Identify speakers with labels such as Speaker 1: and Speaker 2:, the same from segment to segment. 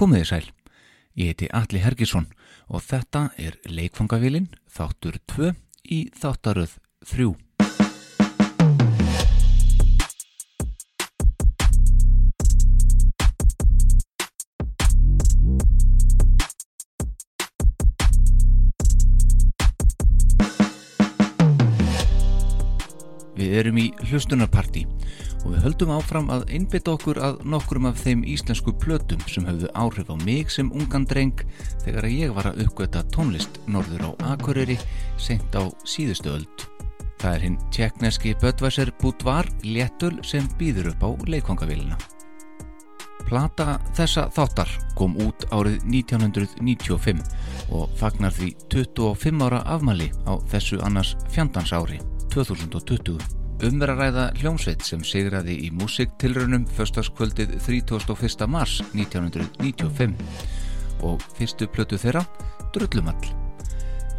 Speaker 1: Komiði sæl. Ég heiti Alli Hergisson og þetta er leikfangavílin þáttur 2 í þáttaröð 3. Við erum í hlustunarparti og við höldum áfram að innbytta okkur að nokkrum af þeim íslensku plötum sem höfðu áhrif á mig sem ungan dreng þegar að ég var að uppgöta tónlist norður á Akureyri sent á síðustu öld. Það er hinn tjekkneski Böttvæsir Búdvar Léttul sem býður upp á leikvangavílina. Plata þessa þáttar kom út árið 1995 og fagnar því 25 ára afmæli á þessu annars fjandans ári, 2020. Um Umverðaræða hljómsveit sem sigraði í músiktilraunum föstaskvöldið 31. mars 1995 og fyrstu plötu þeirra, Drullumall.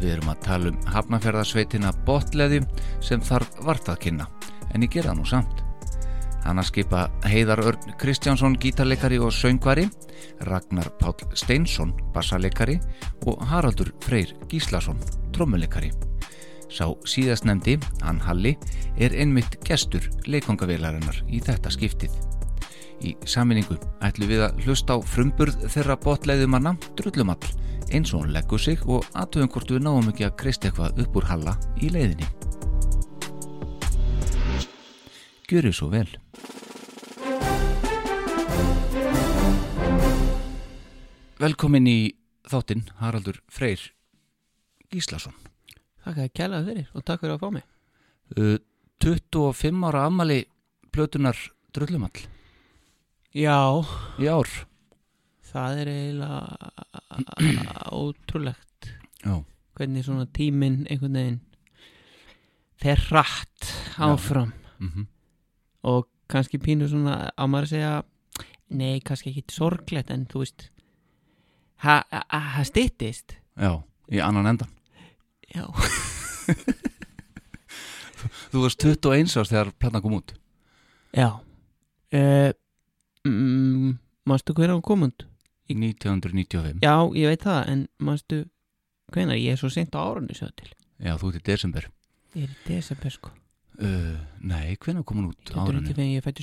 Speaker 1: Við erum að tala um hafnaferðarsveitina Botleði sem þarf vart að kynna, en ég gera nú samt. Hanna skipa Heiðar Örn Kristjánsson gítarleikari og söngvari, Ragnar Páll Steinsson bassaleikari og Haraldur Freyr Gíslason trommuleikari. Sá síðastnemdi, hann Halli, er einmitt gestur leikongavélarinnar í þetta skiptið. Í saminningu ætlum við að hlusta á frumburð þeirra botleiðumanna drullumall eins og hún leggur sig og aðtöfum hvort við náum ekki að kreist eitthvað upp úr Halla í leiðinni. Gjöru svo vel. Velkomin í þáttinn Haraldur Freyr Gíslason.
Speaker 2: Takk að kælaði fyrir og takk fyrir að fá mig.
Speaker 1: Uh, 25 ára ammali plötunar drullumall
Speaker 2: Já,
Speaker 1: í ár.
Speaker 2: það er eiginlega ótrúlegt
Speaker 1: Já,
Speaker 2: hvernig svona tíminn einhvern veginn fer rætt áfram
Speaker 1: mm
Speaker 2: og kannski pínur svona á maður að segja nei, kannski ekki sorglegt en þú veist ha- ha- ha- það styttist
Speaker 1: já, í annan endan.
Speaker 2: Já,
Speaker 1: Þú varst 21 árs þegar platan kom út.
Speaker 2: já uh, mm, Manstu hver á komund?
Speaker 1: 1995.
Speaker 2: Já, ég veit það en manstu hvenær? Ég er svo sent á árunni svo til
Speaker 1: Já, þú ert í desember.
Speaker 2: Ég er í desember sko
Speaker 1: Uh, nei, hvenær kom hún út árunni?
Speaker 2: 1995, ég fættu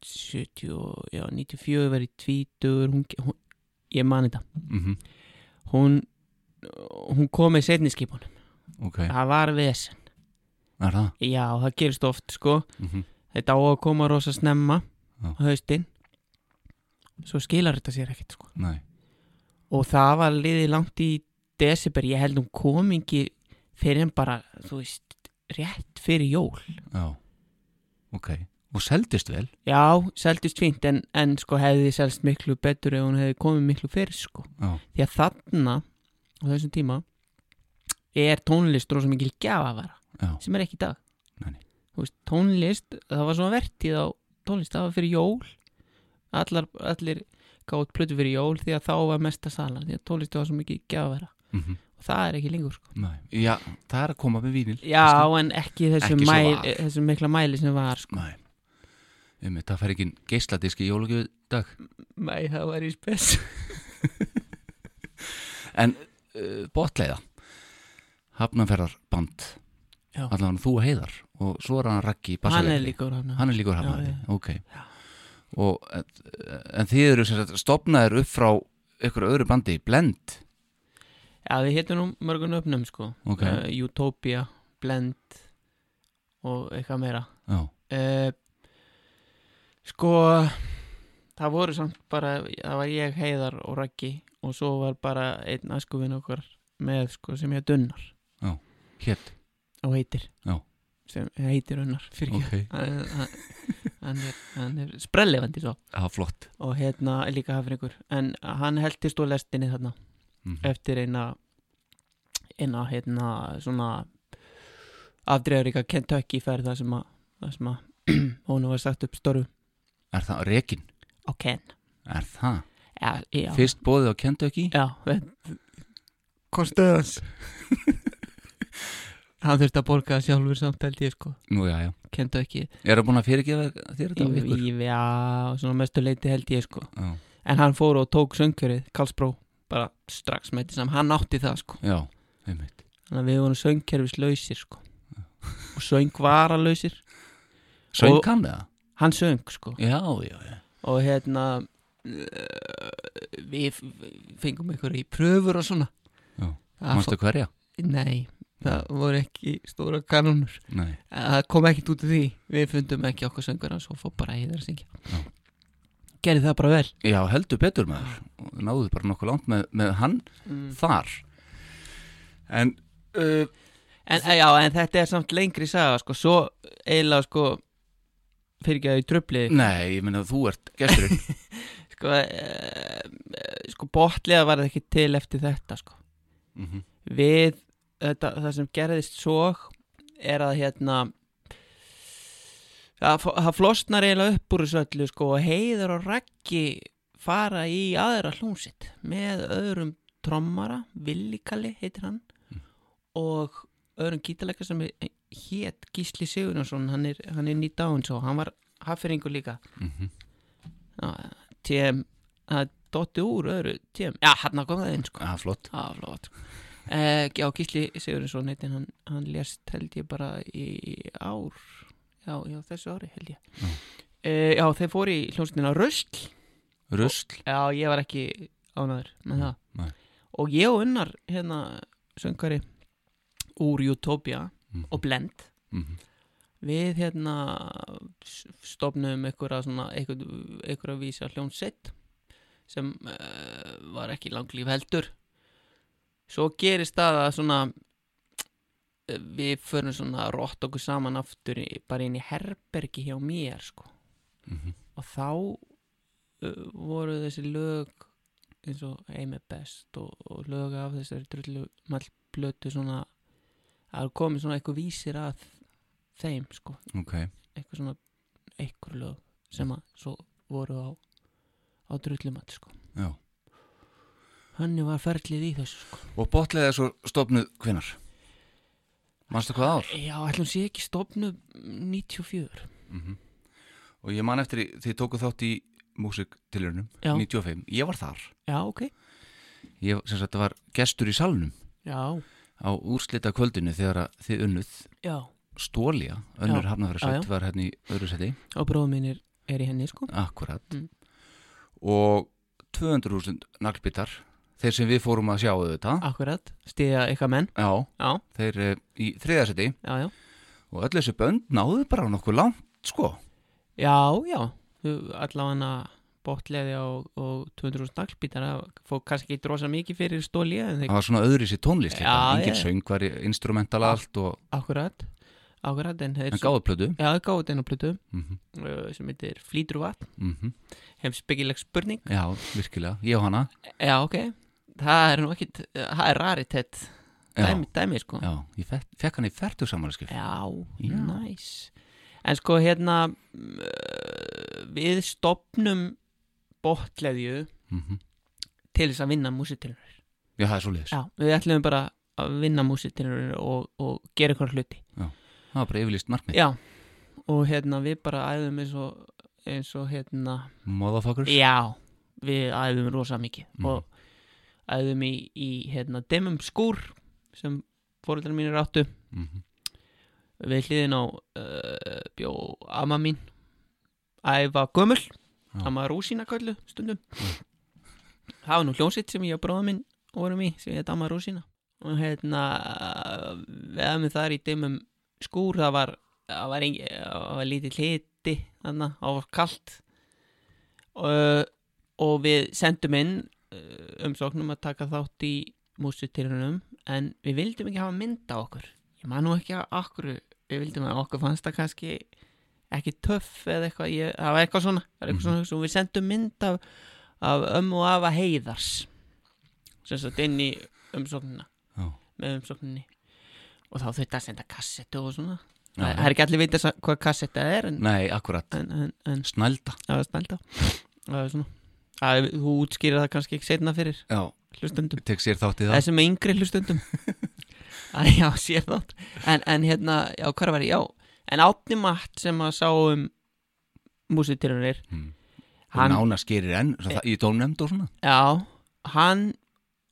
Speaker 2: 74 70, já, 94 var ég tvítur hún, hún, ég man þetta
Speaker 1: Mm
Speaker 2: hún, hún kom með setniskipunum
Speaker 1: Ok,
Speaker 2: það var vesen,
Speaker 1: er það?
Speaker 2: já, það gerist oft sko,
Speaker 1: Mm
Speaker 2: þetta á að koma rosa snemma
Speaker 1: Já.
Speaker 2: á haustin svo skilar þetta sér ekkert sko
Speaker 1: Nei,
Speaker 2: og það var liðið langt í desiber, ég held hún kom ekki fyrir en bara, þú veist rétt fyrir jól
Speaker 1: já. Ok, og seldist vel?
Speaker 2: Já, seldist fínt en, en sko hefði selst miklu betur ef hún hefði komið miklu fyrr sko.
Speaker 1: Já,
Speaker 2: Því að þarna á þessum tíma er tónlist rosa mikil gjafavara
Speaker 1: já,
Speaker 2: sem er ekki í dag.
Speaker 1: Nei, nei.
Speaker 2: Þú veist, tónlist, það var svona vertið á tónlist, það var fyrir jól allar, allir gátt plötu fyrir jól því að þá var mesta salan því að tónlist var svo mikil gjafavara
Speaker 1: mm
Speaker 2: og það er ekki lengur sko.
Speaker 1: nei. Já, það er að koma með vínil.
Speaker 2: Já, en ekki þessum,
Speaker 1: Ekki svo
Speaker 2: mæl,
Speaker 1: var.
Speaker 2: þessum mikla mæli sem var sko.
Speaker 1: Nei, um, það fær ekki geisladiski í jólugjöðu dag.
Speaker 2: Mæ, það var í spes
Speaker 1: En uh, botleiða, hafnanferðarband,
Speaker 2: Já.
Speaker 1: allavega þú heiðar og svo er hann Raggi
Speaker 2: Hann er
Speaker 1: Bassalegi.
Speaker 2: líka úr hana
Speaker 1: Hann er líkur
Speaker 2: Já,
Speaker 1: hafnandi,
Speaker 2: já.
Speaker 1: ok. Og, en, en þið eru sem sagt stopnaðir upp frá ykkur öðru bandi, Blend,
Speaker 2: Já, við hétum nú mörgum öfnum sko
Speaker 1: ok,
Speaker 2: uh, Utopia, Blend og eitthvað meira
Speaker 1: já,
Speaker 2: uh, Sko það voru samt bara það var ég, Heiðar og Raggi og svo var bara einn aðskufin okkar með sko sem ég Dunnar
Speaker 1: hér,
Speaker 2: og heitir
Speaker 1: Já.
Speaker 2: sem heitir Unnar fyrir
Speaker 1: ok,
Speaker 2: hann, hann, hann, er, hann er sprellefandi svo
Speaker 1: það er flott.
Speaker 2: og hérna er líka hafringur en hann heldist og lestinni þarna
Speaker 1: Mhm.
Speaker 2: eftir eina eina hérna svona afdreiðaríka Kentucky ferð þar sem að, þar sem að hún var sagt upp storru
Speaker 1: Er það rekin?
Speaker 2: á Ken
Speaker 1: Er það?
Speaker 2: ja, já,
Speaker 1: Fyrst bóðið á Kentucky?
Speaker 2: já, við- kostuðans hann þurfti að borga það sjálfur samt held ég sko
Speaker 1: Nú, já, já.
Speaker 2: kentu ekki
Speaker 1: Er það búin að fyrirgefa þér þetta?
Speaker 2: í,
Speaker 1: Viktor?
Speaker 2: í, já, svona mestu leiti held ég sko
Speaker 1: Já,
Speaker 2: en hann fór og tók söngkjörið Karlsbró bara strax með þessam hann átti það sko
Speaker 1: já, einmitt.
Speaker 2: þannig að við vorum söngkerfislausir sko og söngvaralausir
Speaker 1: Söng
Speaker 2: Og-
Speaker 1: hann eða?
Speaker 2: hann söng sko
Speaker 1: Já, já, já.
Speaker 2: og hérna eh, við f- fengum einhverju í pröfur og svona
Speaker 1: Já.
Speaker 2: Það
Speaker 1: Manstu hverja?
Speaker 2: fó- nei, það voru ekki stóra kanunur
Speaker 1: Nei.
Speaker 2: það kom ekkert út af því við fundum ekki okkar söngur hans og fór bara heiðar að syngja
Speaker 1: Já. Ah.
Speaker 2: gerði það bara vel
Speaker 1: Já, heldur betur maður. Og Náðuð bara nokkuð langt með, með hann
Speaker 2: Mm.
Speaker 1: þar. En, uh,
Speaker 2: En, eh, já, en þetta er samt lengri saga sko, svo eiginlega sko fyrir ekki að ég tröfli
Speaker 1: nei, ég meina þú ert gesturinn.
Speaker 2: sko, e, sko botlega var það ekki til eftir þetta sko
Speaker 1: mm
Speaker 2: við, þetta, það sem gerðist svo er að hérna það fó- það flosnar eiginlega upp úr þessu öllu sko og heiður og raggi fara í aðra hljómsitt með öðrum trommara Villikalli heitir hann og öðrum gítalega sem hétt Gísli Sigurjónsson hann er, hann er nýtt án svo, hann var hafferingur líka
Speaker 1: mhm.
Speaker 2: Já, TM það dotti úr öðru TM já, hann kom það inn sko
Speaker 1: Já, Ah, flott.
Speaker 2: það var flott eh, já, Gísli Sigurðinsson heitin hann, hann lést held ég bara í ár já, já þessu ári held ég eh, já, þeir fóru í hljómsnina Röskl
Speaker 1: Rusl.
Speaker 2: já, ég var ekki ánæður með það
Speaker 1: Nei.
Speaker 2: og ég og unnar hérna söngari úr Utopia
Speaker 1: Mhm.
Speaker 2: og Blend
Speaker 1: Mhm.
Speaker 2: við hérna s- stofnum einhverja svona einhver, einhverja vísa hljónsett sem uh, var ekki langlíf heldur svo gerist það að svona eh, við förum svona að rotta okkur saman aftur í, bara inn í herbergi hjá mér sko
Speaker 1: Mhm.
Speaker 2: og þá uh, voru þessi lög eins og Aim er best og, og lög af þessari drullu mallblötu svona að komi svona eitthvað vísir að þeim sko,
Speaker 1: Ok,
Speaker 2: eitthvað svona eitthvað lög sem að svo voru á, á drullumall sko
Speaker 1: já.
Speaker 2: Þannig var ferlið í þessu sko
Speaker 1: Og botlega er svo stofnuð hvenar? Manstu hvað ár?
Speaker 2: Já, ætlum sé ekki stofnu 94
Speaker 1: Mhm. Og ég man eftir, því- þið tókuð þátt í músiktilurinnum,
Speaker 2: Já.
Speaker 1: 95. Ég var þar.
Speaker 2: Já, ok
Speaker 1: Ég sem sagt var gestur í salnum
Speaker 2: Já,
Speaker 1: á úrslita kvöldinu þegar að þið unnuð
Speaker 2: já
Speaker 1: Stólia, önnur
Speaker 2: Já. Já,
Speaker 1: hafnafæra
Speaker 2: já.
Speaker 1: var hérna í öðru seti,
Speaker 2: Og bróðum minn er, er í henni sko
Speaker 1: akkurat.
Speaker 2: Mm.
Speaker 1: Og 200.000 naglbitar, þeir sem við fórum að sjá auðvitað,
Speaker 2: Akkurat, stiga eitthvað menn
Speaker 1: já,
Speaker 2: Ah. Já,
Speaker 1: þeir eh, í þriða seti
Speaker 2: já, já
Speaker 1: og öll þessi bönd náðu bara nokkuð langt, sko.
Speaker 2: Já, já, allavega botleði og, og 200 snaglbítar það fór kannski ekki drosa mikið fyrir stólið en þeir
Speaker 1: Það var svona öðru sér tónlist líka,
Speaker 2: Já,
Speaker 1: engin
Speaker 2: já. Ah.
Speaker 1: söngvar, instrumental allt og
Speaker 2: akkurat akkurat en þeir
Speaker 1: en gáðu plödu.
Speaker 2: já, þeir gáðu þetta inn á plötu
Speaker 1: Mm -hmm,
Speaker 2: uh, sem heitir Flýtur vatn, heimsbyggileg spurning
Speaker 1: mhm. Já, virkilega, ég og hana.
Speaker 2: Já, ok, það er nú ekkit það er rarið tett,
Speaker 1: Já,
Speaker 2: dæmi, dæmi sko
Speaker 1: já ég fekk, fekk hann í færtu samanlæskif.
Speaker 2: Já,
Speaker 1: Já.
Speaker 2: næs En sko hérna uh, við stopnum botleðju
Speaker 1: Mm
Speaker 2: til þess að vinna músitilur
Speaker 1: Já, það er svo leiðis.
Speaker 2: Já, við ætlum bara að vinna músitilur og, og gera eitthvað hluti.
Speaker 1: Það var bara yfirlýst markmið.
Speaker 2: Já, og hérna við bara æðum eins og, eins og hérna,
Speaker 1: Motherfuckers.
Speaker 2: já, við æðum rosa mikið
Speaker 1: Mhm.
Speaker 2: og æðum í, í hérna, demum skúr sem fóreldrar mínir áttu
Speaker 1: Mm -hmm.
Speaker 2: við hliðin á uh, bjó amma mín æfa gömul
Speaker 1: Já.
Speaker 2: amma rúsína kallu stundum það var nú hljónsitt sem ég og bróða minn vorum í sem heit amma rúsína og hérna við hefum þar í dimmum skúr það var, það var, engi, það var lítið hliti þannig það var kalt og, og við sendum inn eh, umsóknum að taka þátt í músutilunum en við vildum ekki hafa mynd á okkur ég man nú ekki að okkur við vildum að okkur fannst það kannski ekki töff eða eitthvað ég, það var eitthvað svona, það var eitthvað svona mm við sendum mynd af, af ömmu og afa heiðars sem satt inn í umsóknina
Speaker 1: Já.
Speaker 2: með umsókninni og þá þurfti að senda kassetu og svona
Speaker 1: Já,
Speaker 2: það
Speaker 1: já.
Speaker 2: það er ekki allir vita sa- hvað kassetta er en,
Speaker 1: Nei, akkurat.
Speaker 2: en, en, en
Speaker 1: Snælda.
Speaker 2: það var snælda það er svona að, þú útskýrir það kannski ekki setna fyrir
Speaker 1: Já,
Speaker 2: hlustendum
Speaker 1: tek sér þátt í það.
Speaker 2: þessum yngri hlustendum Æ, já, sér þátt en, en hérna, já, hvað var ég, já en Átni Matt sem að sá um músitilunir
Speaker 1: Mm.
Speaker 2: hann,
Speaker 1: Hann nána skerir enn, svo það, í tónnemnd og svona
Speaker 2: já, hann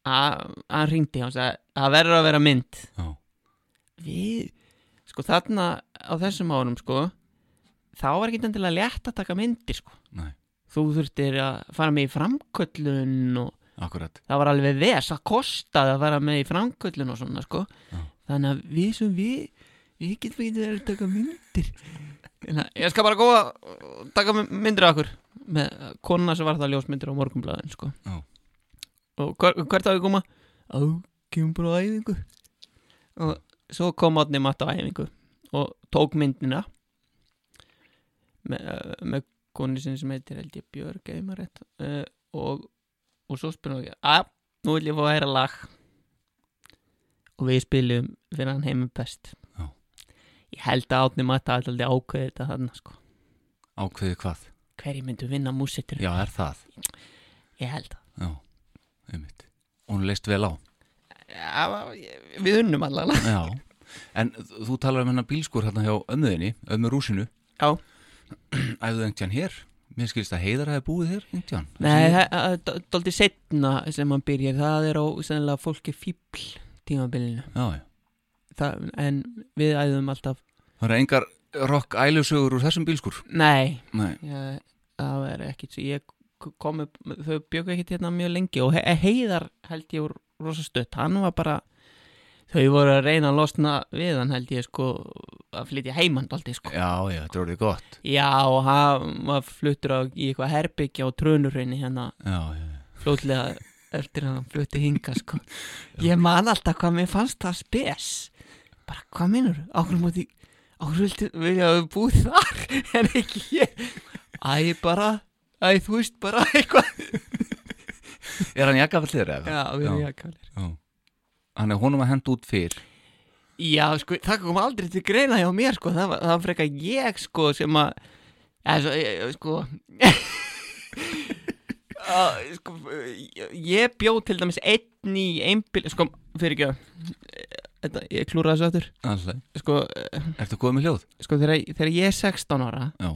Speaker 2: a- hann ringdi hans að það verður að vera mynd
Speaker 1: Já.
Speaker 2: við, sko þarna á þessum árum, sko þá var ekki endilega létt að taka myndir, sko
Speaker 1: Nei,
Speaker 2: þú þurftir að fara með í framköllun og
Speaker 1: akkurat
Speaker 2: það var alveg ves að kostaði að fara með í framköllun og svona sko
Speaker 1: Já.
Speaker 2: þannig að við sem við við getum ekki verið að taka myndir Þannig að ég skal bara góða og taka my- myndir af okkur með konuna sem var það ljósmyndir á morgunblæðin sko
Speaker 1: Já.
Speaker 2: og hver, hvert á ég koma? á, kemur bara á æfingu og svo kom átni matt á æfingu og tók myndina með, með konu sinni sem heitir held ég Björg eða maður rétt uh, og og svo spyrum við að nú vil ég fá að heyra lag og við spilum fyrir hann heimum best
Speaker 1: Já.
Speaker 2: ég held að átni matta alltaf ákveði þetta þarna sko
Speaker 1: Ákveðið hvað?
Speaker 2: hverju myndu vinna músitur
Speaker 1: Já, er það
Speaker 2: ég held að
Speaker 1: Já, einmitt Og hún leist vel á
Speaker 2: Já, ég- við unnum allavega
Speaker 1: Já, en þú talar um hennar bílskur hérna hjá ömmuðinni, ömmu rúsinu
Speaker 2: Já.
Speaker 1: Æfðu engtján hér? Mér skilst að heiðar hefði búið hér, engtján
Speaker 2: Nei, það það er dál- dálítið setna sem hann byrjar það er á sennilega fólki fíbl tímabilinu
Speaker 1: Já, já
Speaker 2: það, en við æðum alltaf
Speaker 1: Það eru engar rock ælusögur úr þessum bílskur
Speaker 2: nei,
Speaker 1: Nei,
Speaker 2: ég, það er ekkit svo ég k- kom upp, þau bjöku ekkit hérna mjög lengi og he heiðar held ég úr rosa stutt, hann var bara þau voru að reyna að losna við hann held ég sko að flytja heimann aldrei sko
Speaker 1: já, já, þetta er orðið gott
Speaker 2: já og hann var fluttur á, í eitthvað herbyggja og trönurreini hérna
Speaker 1: Já, já, já.
Speaker 2: fljótlega eftir að hann flutti hinga sko ég man alltaf hvað mér fannst það spes bara hvað minnur ákveðum móti ákveðum vilja að búið þar en ekki ég æ bara, æ þú veist bara eitthvað
Speaker 1: Er hann jakkafallir eða?
Speaker 2: já, við erum jakkalir
Speaker 1: já Hann er honum að henda út fyrr
Speaker 2: já sko, það kom aldrei til greina hjá mér sko það var, það var frekar ég sko sem að eða svo, ég, ég- sko Uh, sko, ég, ég bjó til dæmis einn í einbíl, sko, fyrir ekki að ég klúra þessu aftur
Speaker 1: Alltaf
Speaker 2: sko, eh,
Speaker 1: Ertu góð með hljóð?
Speaker 2: sko þegar, þegar ég er 16 ára
Speaker 1: Já.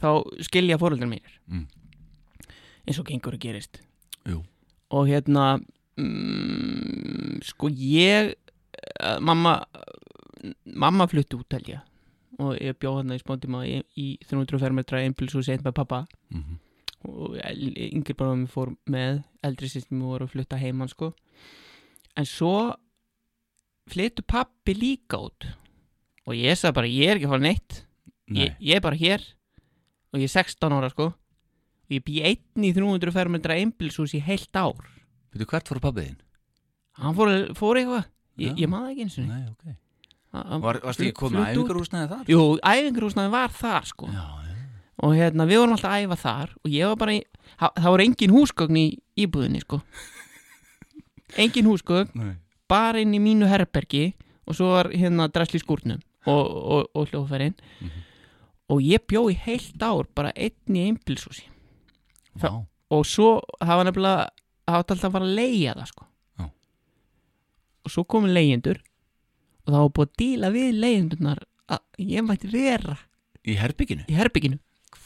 Speaker 2: þá skilja fóröldin mínir
Speaker 1: Mm.
Speaker 2: eins og gengur og gerist
Speaker 1: Jú.
Speaker 2: og hérna mm, sko ég eh, mamma mamma flutti út held ég og ég bjóð hérna í spóndíma í, í 300 fermetra einbilshúsi einn með pappa
Speaker 1: Mm
Speaker 2: og el- yngri bróðum fór með eldri sýstum voru að flutta heimann sko en svo flyttu pappi líka út og ég sagði bara ég er ekki að fara neitt
Speaker 1: Nei,
Speaker 2: ég, ég er bara hér og ég er 16 ára sko og ég bý einn í 300 fermetra einbilsús í heilt ár
Speaker 1: veitu hvert fór pappið þinn?
Speaker 2: hann fór, fór eitthvað ég,
Speaker 1: Já.
Speaker 2: ég maður ekki eins og
Speaker 1: Nei, ok
Speaker 2: niður
Speaker 1: Var, Varstu ekki
Speaker 2: Fl-
Speaker 1: komið
Speaker 2: flutt út.
Speaker 1: æfingarúsnaði þar?
Speaker 2: jú, æfingrúsnaði var þar sko
Speaker 1: Já, já
Speaker 2: og hérna, við vorum alltaf að æfa þar og ég var bara, í, það, það voru engin húsgögn í íbúðinni sko engin húsgögn,
Speaker 1: Nei
Speaker 2: bara inn í mínu herbergi og svo var hérna dræsli skúrnum og, og, og hljóferinn
Speaker 1: Mhm.
Speaker 2: og ég bjó í heilt ár bara einn í einbilsúsi
Speaker 1: Vá,
Speaker 2: og svo það var nefnilega það átti alltaf að fara að leigja það sko
Speaker 1: Já.
Speaker 2: og svo komu leigjendur og það var búið að díla við leigjendurnar að ég mætti vera
Speaker 1: í herbygginu?
Speaker 2: í herbygginu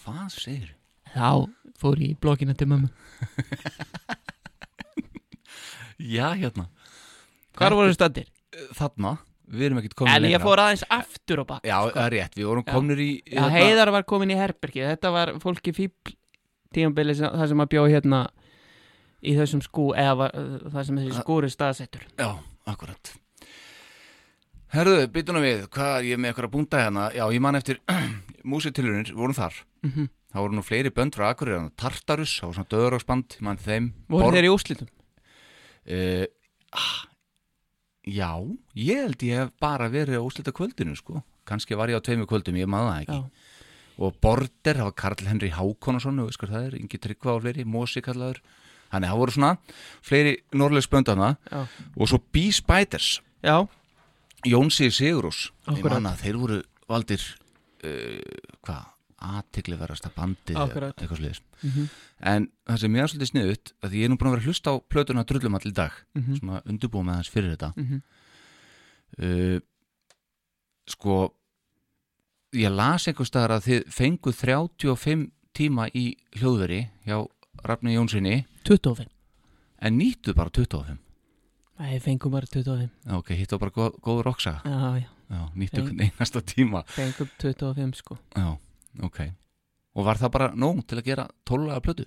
Speaker 1: Hvað segir
Speaker 2: þá fór ég í blokkina til mömmu
Speaker 1: Já, hérna
Speaker 2: hvar voru stöndir?
Speaker 1: Þarna, við erum ekkert komin
Speaker 2: en ég fór aðeins aftur á bak
Speaker 1: Já, það er rétt, við vorum
Speaker 2: Já.
Speaker 1: komnir í hérna.
Speaker 2: Já, heiðar var komin í herbergi þetta var fólki fíbl tímabili sem, það sem að bjó hérna í þessum skú eða var, það sem þessi skúri staðsettur
Speaker 1: Já, akkurat Herðu, byttunum við, hvað ég er með eitthvað að búnda hérna Já, ég man eftir músitilunir, vorum þar
Speaker 2: Mhm.
Speaker 1: Það voru nú fleiri bönd frá Akureyri þarna, Tartarus, það var svona döðuráksband, ég man eftir þeim
Speaker 2: voru
Speaker 1: Borg-
Speaker 2: þeir í úrslitum?
Speaker 1: Eh, ah, Já, ég held ég hef bara verið á úslita kvöldinu, sko Kanski var ég á tveimu kvöldum, ég maður það ekki
Speaker 2: Já.
Speaker 1: og Border, það var Karl Henry Hákonason og skar það er, Ingi Tryggva og fleiri, Mosi kallaður þannig það voru svona fleiri norðlegs böndana
Speaker 2: Já.
Speaker 1: og svo B-Spiders,
Speaker 2: Já.
Speaker 1: Jónsi Sigurús ég
Speaker 2: Akkurat.
Speaker 1: manna, þeir voru valdir uh, hvað, aðtikliverasta bandið eða
Speaker 2: Akkurat.
Speaker 1: eitthvað sliðis
Speaker 2: Mhm.
Speaker 1: en það sem ég er svolítið sniðut að því ég er nú búin að vera að hlusta á plötuna drullum allir dag,
Speaker 2: Mhm.
Speaker 1: svona undurbúið með hans fyrir þetta
Speaker 2: Mhm.
Speaker 1: uh, sko ég las einhvers staðar að þið fenguð 35 tíma í hljóðveri hjá Rafni Jónssoni
Speaker 2: 25
Speaker 1: en nýttu bara 25
Speaker 2: Nei, fengum bara 25
Speaker 1: Já, ok, hitt var bara góð, góð roksa
Speaker 2: Já, já,
Speaker 1: Já, nýttu
Speaker 2: Feng-
Speaker 1: hvern einasta tíma
Speaker 2: fengum 25 sko
Speaker 1: Já, ok og var það bara nóg til að gera 12 laga plötu?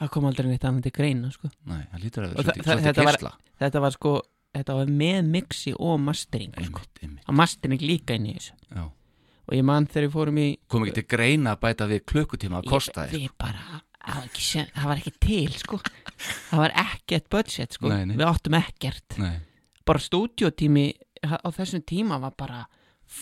Speaker 2: Það kom aldrei neitt annað til greina sko
Speaker 1: Nei, það lítur að
Speaker 2: Og
Speaker 1: það er
Speaker 2: þa- þa- þetta
Speaker 1: svolítið
Speaker 2: var-
Speaker 1: kersla
Speaker 2: Þetta var sko, þetta var með mixi og mastering sko
Speaker 1: Einmitt, einmitt,
Speaker 2: Og mastering líka inn í þessu
Speaker 1: já
Speaker 2: Og ég man þegar við fórum í
Speaker 1: Kom ekki til greina að bæta við klukkutíma að kosta þér
Speaker 2: Við bara, það var, ekki, sem- það var ekki til sko Það var ekkert budget sko
Speaker 1: Nei, nei.
Speaker 2: Við áttum ekkert
Speaker 1: Nei,
Speaker 2: Bara stúdíotími á þessum tíma var bara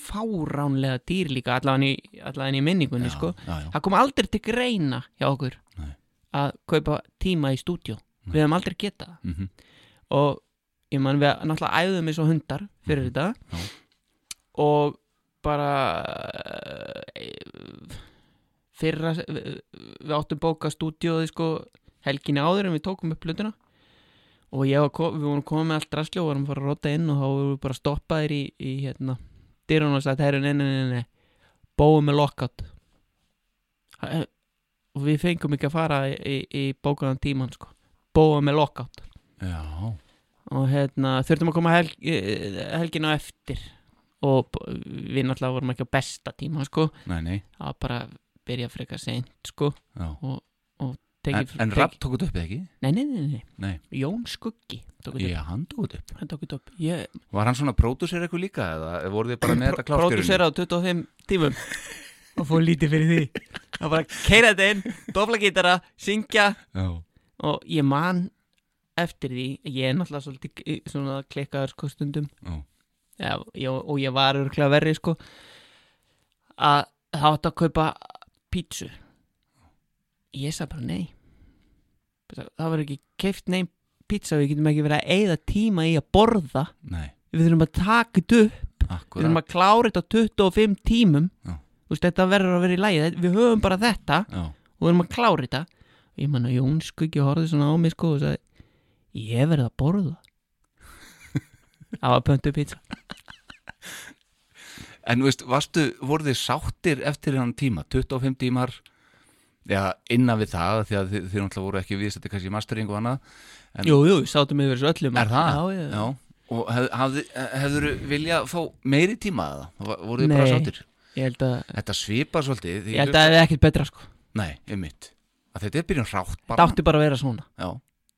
Speaker 2: fáránlega dýr líka allan í, allan í minningunni
Speaker 1: já,
Speaker 2: sko
Speaker 1: já, já,
Speaker 2: Það kom aldrei til greina hjá okkur
Speaker 1: Nei.
Speaker 2: að kaupa tíma í stúdíó.
Speaker 1: Nei.
Speaker 2: Við hefum aldrei getað það.
Speaker 1: mhm,
Speaker 2: og ég man við náttúrulega æðum eins og hundar fyrir þetta
Speaker 1: Já.
Speaker 2: og bara eh, fyrra við við áttum bóka stúdíóði sko helginni áður en við tókum upp plötuna og ég var, ko- við vorum komið með allt drasli og vorum að fara að rota inn og þá vorum við bara stoppaðir í, í hérna dyrun og sagt, herru, nei, nei, nei, nei bóum með lockout Ha- eh, og við fengum ekki að fara í, í, í bókaðan tíman sko bóum með lockout
Speaker 1: já
Speaker 2: og hérna, þurftum að koma hel, eh, helgin á eftir og b- við náttúrulega vorum ekki á besta tíma sko,
Speaker 1: Nei, nei,
Speaker 2: það var bara að byrja frekar seint sko
Speaker 1: já En,
Speaker 2: Tekið-
Speaker 1: en
Speaker 2: tekið-
Speaker 1: Rapp tók þetta upp eða ekki?
Speaker 2: nei, nei, nei, nei,
Speaker 1: Nei.
Speaker 2: Jón Skuggi tók þetta upp,
Speaker 1: Já, hann tók þetta upp
Speaker 2: hann tók þetta upp ég
Speaker 1: Var hann svona pródúsir eitthvað líka eða voru þið bara með þetta klart í rauninni?
Speaker 2: pródúsera á 25 tímum og fór lítið fyrir því það var að keira þetta inn, dofla gítara syngja
Speaker 1: Já,
Speaker 2: og ég man eftir því ég er náttúrulega svolítið eh, svona klikkaður sko stundum
Speaker 1: já,
Speaker 2: Já, ég, og ég var örglega verri sko að það átti að kaupa pítsu ég sagði bara nei það var ekki keift neim pítsa við getum ekki verið að eyða tíma í að borða
Speaker 1: nei,
Speaker 2: við þurfum að taka þetta upp við
Speaker 1: akkurat
Speaker 2: þurfum að klára þetta á 25 tímum
Speaker 1: Já.
Speaker 2: Þú veist, þetta verður að vera í lægi við höfum bara þetta
Speaker 1: Já,
Speaker 2: og við þurfum að klára þetta og ég man að Jón Skuggi horfði svona á mig sko og sagði ég verð að borða það var pöntu pítsa
Speaker 1: En þú veist, varstu, voru þið sáttir eftir hennan tíma, 25 tímar Já, innan við það því að þið, þið náttúrulega voru ekki viðstætti kannski í mastering og annað En-
Speaker 2: Jú, jú, sátum yfir þessu öllum
Speaker 1: Er það?
Speaker 2: Já, já,
Speaker 1: Já, og hef, hafði, hefur þið viljað fá meiri tíma að það? Voru þið bara
Speaker 2: Nei.
Speaker 1: sáttir?
Speaker 2: Ég held að,
Speaker 1: Þetta svipar svolítið því-
Speaker 2: ég held að það er ekkert betra sko
Speaker 1: Nei, einmitt að Þetta er byrjun rátt
Speaker 2: Það
Speaker 1: bara
Speaker 2: átti bara að vera svona
Speaker 1: Já,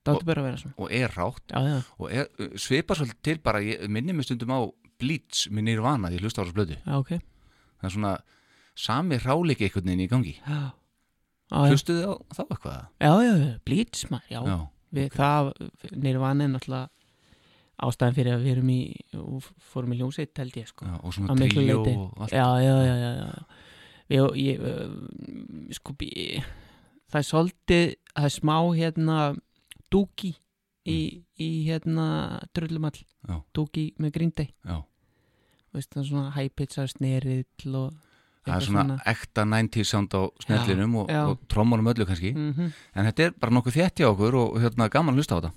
Speaker 2: Það átti bara að vera svona
Speaker 1: og er rátt
Speaker 2: Já, já,
Speaker 1: og er, uh, svipar svolítið til bara, ég minni mig stundum á Blitz með Nirvana, því ég hlusta á þessu blödu
Speaker 2: já, ok
Speaker 1: Það er svona sami ráleiki einhvern veginn í gangi
Speaker 2: Já, já, já,
Speaker 1: Hlustuðu á þá eitthvað?
Speaker 2: já, já, já, blíts maður Já,
Speaker 1: Já,
Speaker 2: við það, nirvana er náttúrulega ástæðan fyrir að við erum í og fórum í ljónsveit held ég sko
Speaker 1: já, og
Speaker 2: Að
Speaker 1: svona
Speaker 2: miklu
Speaker 1: tríó
Speaker 2: leyti.
Speaker 1: og allt
Speaker 2: Já, já, já, já, já. Ég, ég, uh, sko, ég, það er svolítið, það er smá hérna dúki í, í hérna drullumall,
Speaker 1: Mm. Já.
Speaker 2: dúki með grindei,
Speaker 1: Já,
Speaker 2: veist það er svona hæpitsar snerill og
Speaker 1: það er svona, ekta 90 sound á snellinum og,
Speaker 2: já.
Speaker 1: og trommunum öllu kannski
Speaker 2: mm -hmm.
Speaker 1: En þetta er bara nokkuð þétt hjá okkur og hérna gaman að hlusta á þetta.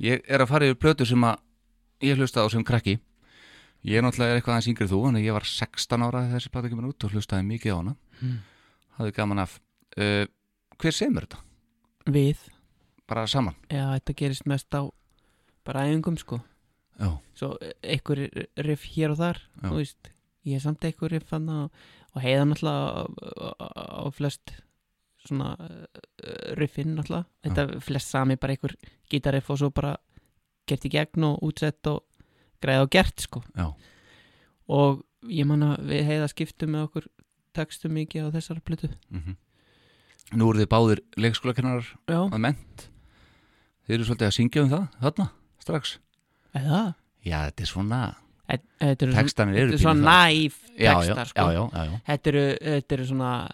Speaker 1: Ég er að fara yfir plötu sem að ég hlusta á sem krakki. Ég er náttúrulega eitthvað aðeins yngri en þú, en ég var 16 ára þegar þessi plata kemur út og hlustaði mikið á hana.
Speaker 2: Hmm.
Speaker 1: Hafði gaman af. Uh, hver semur þetta?
Speaker 2: Við,
Speaker 1: Bara saman?
Speaker 2: já, þetta gerist mest á bara æfingum, sko.
Speaker 1: Já,
Speaker 2: Svo eh, einhver riff hér og þar,
Speaker 1: Já.
Speaker 2: þú veist, ég er samt einhver riff hann og, og heiða náttúrulega á- á- á flest svona eh, riffin náttúrulega. Þetta er flest sami bara einhver gítarriff og svo bara gert í gegn og útsett og græða og gert, sko.
Speaker 1: já,
Speaker 2: Og ég man að við heiða skiptum með okkur textum mikið á þessari plötu.
Speaker 1: mhm. Nú eru þið báðir leikskólakennarar
Speaker 2: Já,
Speaker 1: að ment. Þið eru svolítið að syngja um það, þarna, strax.
Speaker 2: eða?
Speaker 1: Já, þetta er svona,
Speaker 2: Þetta þetta
Speaker 1: Mhm.
Speaker 2: eru svona-
Speaker 1: textanir
Speaker 2: þetta
Speaker 1: eru
Speaker 2: eru svona
Speaker 1: pínu það.
Speaker 2: næf
Speaker 1: Já, já,
Speaker 2: textar, sko.
Speaker 1: já, já, já, já.
Speaker 2: þetta eru, þetta eru svona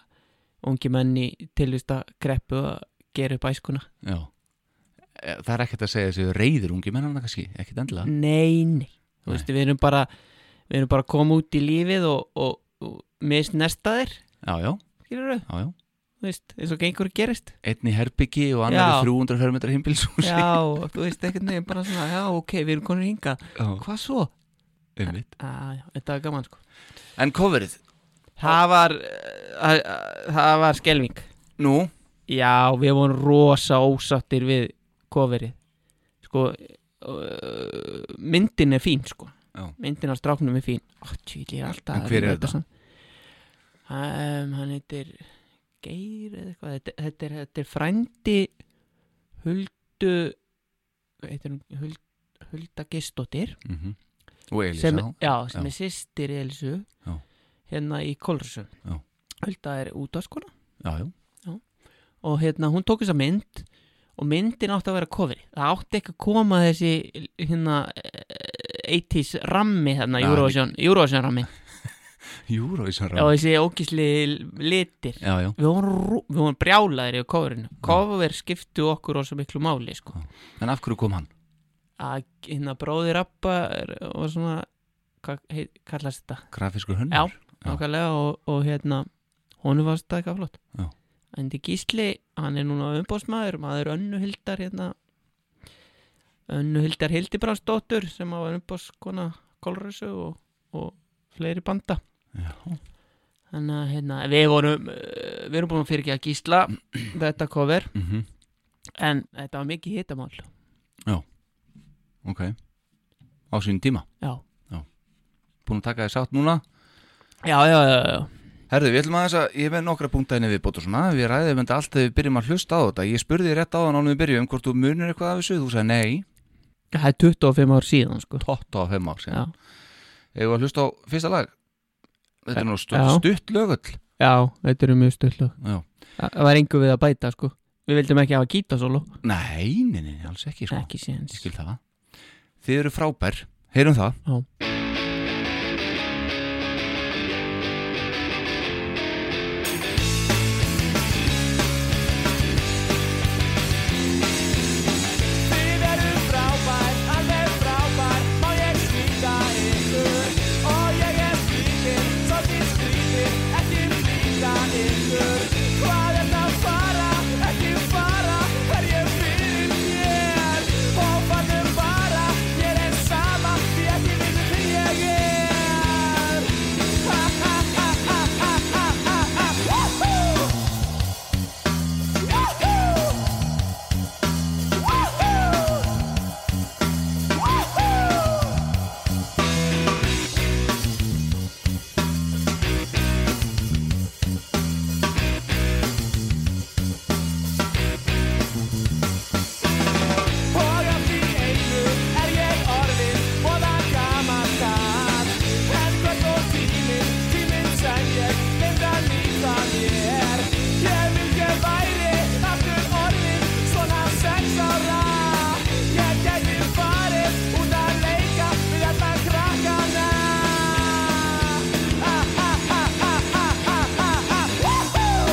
Speaker 2: ungi menni tilvista greppu að gera upp æskuna
Speaker 1: Já. Eh, Það er ekkert að segja þessi reyðir ungi mennana kannski, ekkert endilega.
Speaker 2: nei, nei,
Speaker 1: Nei.
Speaker 2: þú veistu, við erum bara við erum bara að koma út í lífið og, og, og misnesta þér
Speaker 1: Já, já,
Speaker 2: skilur við,
Speaker 1: já, já.
Speaker 2: þú veist, eins og gengur gerist
Speaker 1: Einn í herbyggi og annar í
Speaker 2: Já.
Speaker 1: 300 fermetra himbilshúsi.
Speaker 2: já, þú veist, ekkert neginn bara svona já, ok, við erum konur hinga,
Speaker 1: Já.
Speaker 2: hvað svo?
Speaker 1: einmitt.
Speaker 2: já, þetta var gaman sko
Speaker 1: En coverið,
Speaker 2: það var uh, uh, það var skelving
Speaker 1: nú,
Speaker 2: já, við vorum rosa ósattir við coverið sko uh, myndin er fín sko
Speaker 1: Já.
Speaker 2: myndin á stráknum er fín Ó, tjúli, alltaf,
Speaker 1: En hver er þetta?
Speaker 2: Um, hann heitir Geir eða eitthvað þetta, þetta, er, þetta er frændi Huldu heitir hún Huld, Hulda Gistóttir
Speaker 1: mm og Elisa,
Speaker 2: sem, já, sem
Speaker 1: Já.
Speaker 2: er sýstir Elsu
Speaker 1: Já.
Speaker 2: hérna í Kolrössum
Speaker 1: Já.
Speaker 2: Hulda er sko. útvarskona
Speaker 1: já, já,
Speaker 2: og hérna hún tók þessa mynd og myndin átti að vera kofri það átti ekki að koma þessi hérna eh, 80s rammi þarna,
Speaker 1: Já,
Speaker 2: Eurovision, Eurovision rammi
Speaker 1: Eurovision
Speaker 2: og
Speaker 1: rám,
Speaker 2: þessi ógisli litir
Speaker 1: já, já,
Speaker 2: við vorum, rú- við vorum brjálaðir yfir kofrinu kofur skiptu okkur og svo miklu máli sko.
Speaker 1: en af hverju kom hann?
Speaker 2: að hérna bróðir Abba er- var svona hvað heit- kallast þetta
Speaker 1: Grafiskur hönnur?
Speaker 2: Já. Nákvæmlega og, og hérna honum varst það eitthvað flott
Speaker 1: Já.
Speaker 2: en til Gísli, hann er núna umbóðsmaður maður Önnu Hildar hérna Önnu Hildar Hildibrandsdóttur sem á umbóðskona Kolrössu og, og fleiri banda
Speaker 1: Já.
Speaker 2: þannig að hérna, við vorum eh, við erum búin að fyrirgeða Gísla þetta cover,
Speaker 1: Mhm.
Speaker 2: en þetta var mikið hitamál
Speaker 1: Ok, á sínum tíma
Speaker 2: já,
Speaker 1: Búin að taka þér sátt núna
Speaker 2: já, já, já, já.
Speaker 1: Herðu, við ætlum aðeins að, ég hef með nokkra punkta henni við bóta svona Við ræðum þetta allt þegar við byrjum að hlusta á þetta Ég spurði þér rétt á þann ánum við byrjum Hvort þú munir eitthvað af þessu, þú sagði nei
Speaker 2: það er 25 ár síðan sko
Speaker 1: Tótt á fimm ár síðan
Speaker 2: já,
Speaker 1: Eða að hlusta á fyrsta lag Þetta er nú stutt,
Speaker 2: Já.
Speaker 1: stutt lögull
Speaker 2: já þetta eru mjög stöldlög
Speaker 1: Já.
Speaker 2: Það var engu við að bæta sko Við vildum ekki hafa gítasólu
Speaker 1: Nei, nei, nei, nei, alls ekki sko
Speaker 2: Ekki séns
Speaker 1: Ég skil það Þið eru frábær, heyrum það
Speaker 2: Já.
Speaker 3: Þið eru frábær, alveg frábær, má ég slíta ykkur Og ég er skrítinn, svolítið skrítinn, ekki flýta ykkur Hvað er það fara, ekki fara, er ég fyrir mér Og fannum bara, ég er sama, því ekki vinnu því ég er Ha ha ha ha ha ha ha ha Woohoo! Yahoo! Woohoo! Woohoo! Og allt í einu er ég orðin voða gamaldags En hvert og tíminn, tíminn sem ég nefnd að líta mér Ég vilja væri aftur orðin svona sex ára Ég gæti farið út að leika við alla krakkana Ha ha ha ha ha ha ha ha Woohoo!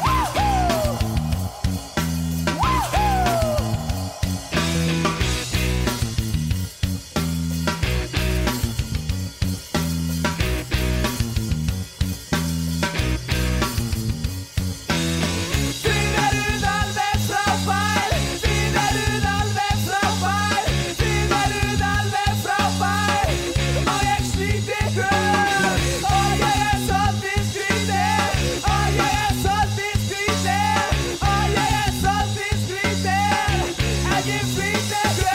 Speaker 3: Woohoo! Woohoo! Woohoo! Þið eruð alveg frábær, þið eruð alveg frábær, þið eruð alveg frábær Má ég slíti ykkur, og ég er svolítið skrítið, og ég er svolítið skrítið, og ég er svolítið skrítið, en ég flýti ykkur